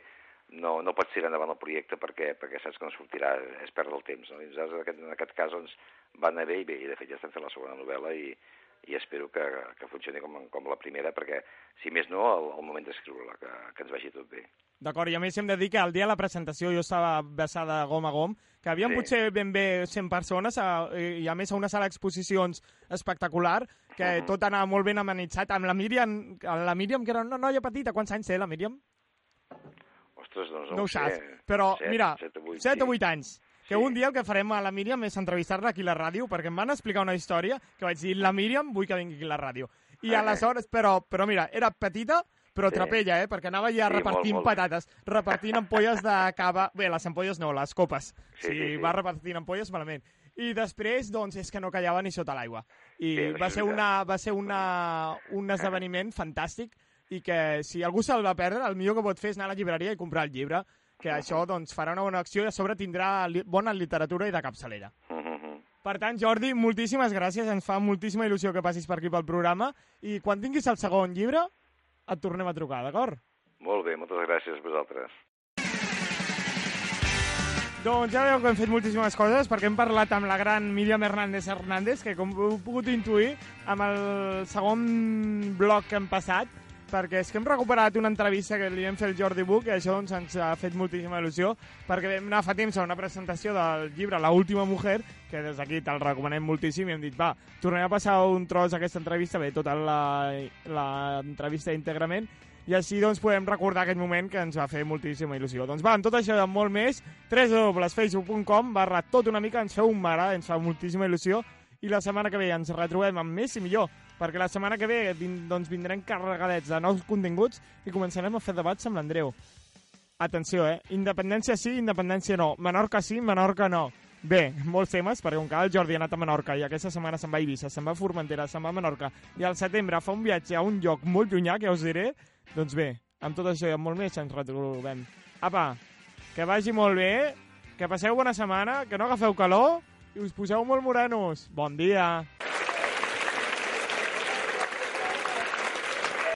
Speaker 11: no, no pots tirar endavant el projecte perquè, perquè saps que no sortirà, és perdre el temps. No? I nosaltres, en aquest, en aquest cas, doncs, va anar bé i bé, i de fet ja estem fent la segona novel·la i, i espero que, que funcioni com, com la primera, perquè, si més no, al, al moment d'escriure-la, que, que ens vagi tot bé.
Speaker 1: D'acord, i a més hem de dir que el dia de la presentació jo estava vessada gom a gom, que havien
Speaker 11: Sí.
Speaker 1: sí. potser ben bé 100 persones a, i a més a una sala d'exposicions espectacular, que
Speaker 11: Mhm.
Speaker 1: tot anava molt ben amenitzat, amb la Míriam, amb la Míriam que era una noia petita, quants anys té la Míriam?
Speaker 11: Ostres, doncs,
Speaker 1: No,
Speaker 11: no,
Speaker 1: ho
Speaker 11: sé,
Speaker 1: saps, però
Speaker 11: set,
Speaker 1: mira,
Speaker 11: set o vuit,
Speaker 1: 7 o
Speaker 11: sí.
Speaker 1: 8 anys, que un dia el que farem a la Míriam és entrevistar-la aquí a la ràdio, perquè em van explicar una història que vaig dir, la Míriam vull que vingui aquí a la ràdio. I
Speaker 11: Ah.
Speaker 1: aleshores, però, però mira, era petita, però
Speaker 11: Sí.
Speaker 1: trapella, eh? perquè anava ja
Speaker 11: Sí,
Speaker 1: repartint
Speaker 11: molt, molt.
Speaker 1: patates, repartint ampolles de cava... Bé, les ampolles no, les copes.
Speaker 11: Sí,
Speaker 1: Sí,
Speaker 11: sí, sí.
Speaker 1: va repartint ampolles malament. I després, doncs, és que no callava ni sota l'aigua. I
Speaker 11: Bé, això
Speaker 1: va
Speaker 11: és
Speaker 1: ser, una, va ser una, un esdeveniment fantàstic i que si algú se'l va perdre, el millor que pot fer és anar a la llibreria i comprar el llibre, que això doncs, farà una bona acció i a sobre tindrà li bona literatura i de capçalera.
Speaker 11: Mhm.
Speaker 1: Per tant, Jordi, moltíssimes gràcies, ens fa moltíssima il·lusió que passis per aquí pel programa i quan tinguis el segon llibre et tornem a trucar, d'acord?
Speaker 11: Molt bé, moltes gràcies a vosaltres.
Speaker 1: Doncs ja veieu que hem fet moltíssimes coses perquè hem parlat amb la gran Míriam Hernández Hernández, que com heu pogut intuir amb el segon bloc que hem passat, perquè és que hem recuperat una entrevista que li hem fet al Jordi Buch i això doncs, ens ha fet moltíssima il·lusió perquè vam anar fa temps a una presentació del llibre La última mujer, que des d'aquí te'l recomanem moltíssim i hem dit, va, tornem a passar un tros d'aquesta entrevista, bé, tota l'entrevista íntegrament, i així doncs podem recordar aquest moment que ens va fer moltíssima il·lusió. Doncs va, amb tot això i amb molt més, www.facebook.com barra tot una mica, ens feu un mare, ens fa moltíssima il·lusió i la setmana que ve ens retrobem amb més i millor, perquè la setmana que ve vin- doncs vindrem carregadets de nous continguts i començarem a fer debats amb l'Andreu. Atenció, eh? Independència sí, independència no. Menorca sí, Menorca no. Bé, molts temes, perquè com que el Jordi ha anat a Menorca i aquesta setmana se'n va a Eivissa, se'n va a Formentera, se'n va a Menorca i al setembre fa un viatge a un lloc molt llunyà, que ja us diré, doncs bé, amb tot això i amb molt més ens retrobem. Apa, que vagi molt bé, que passeu bona setmana, que no agafeu calor i us poseu molt morenos. Bon dia!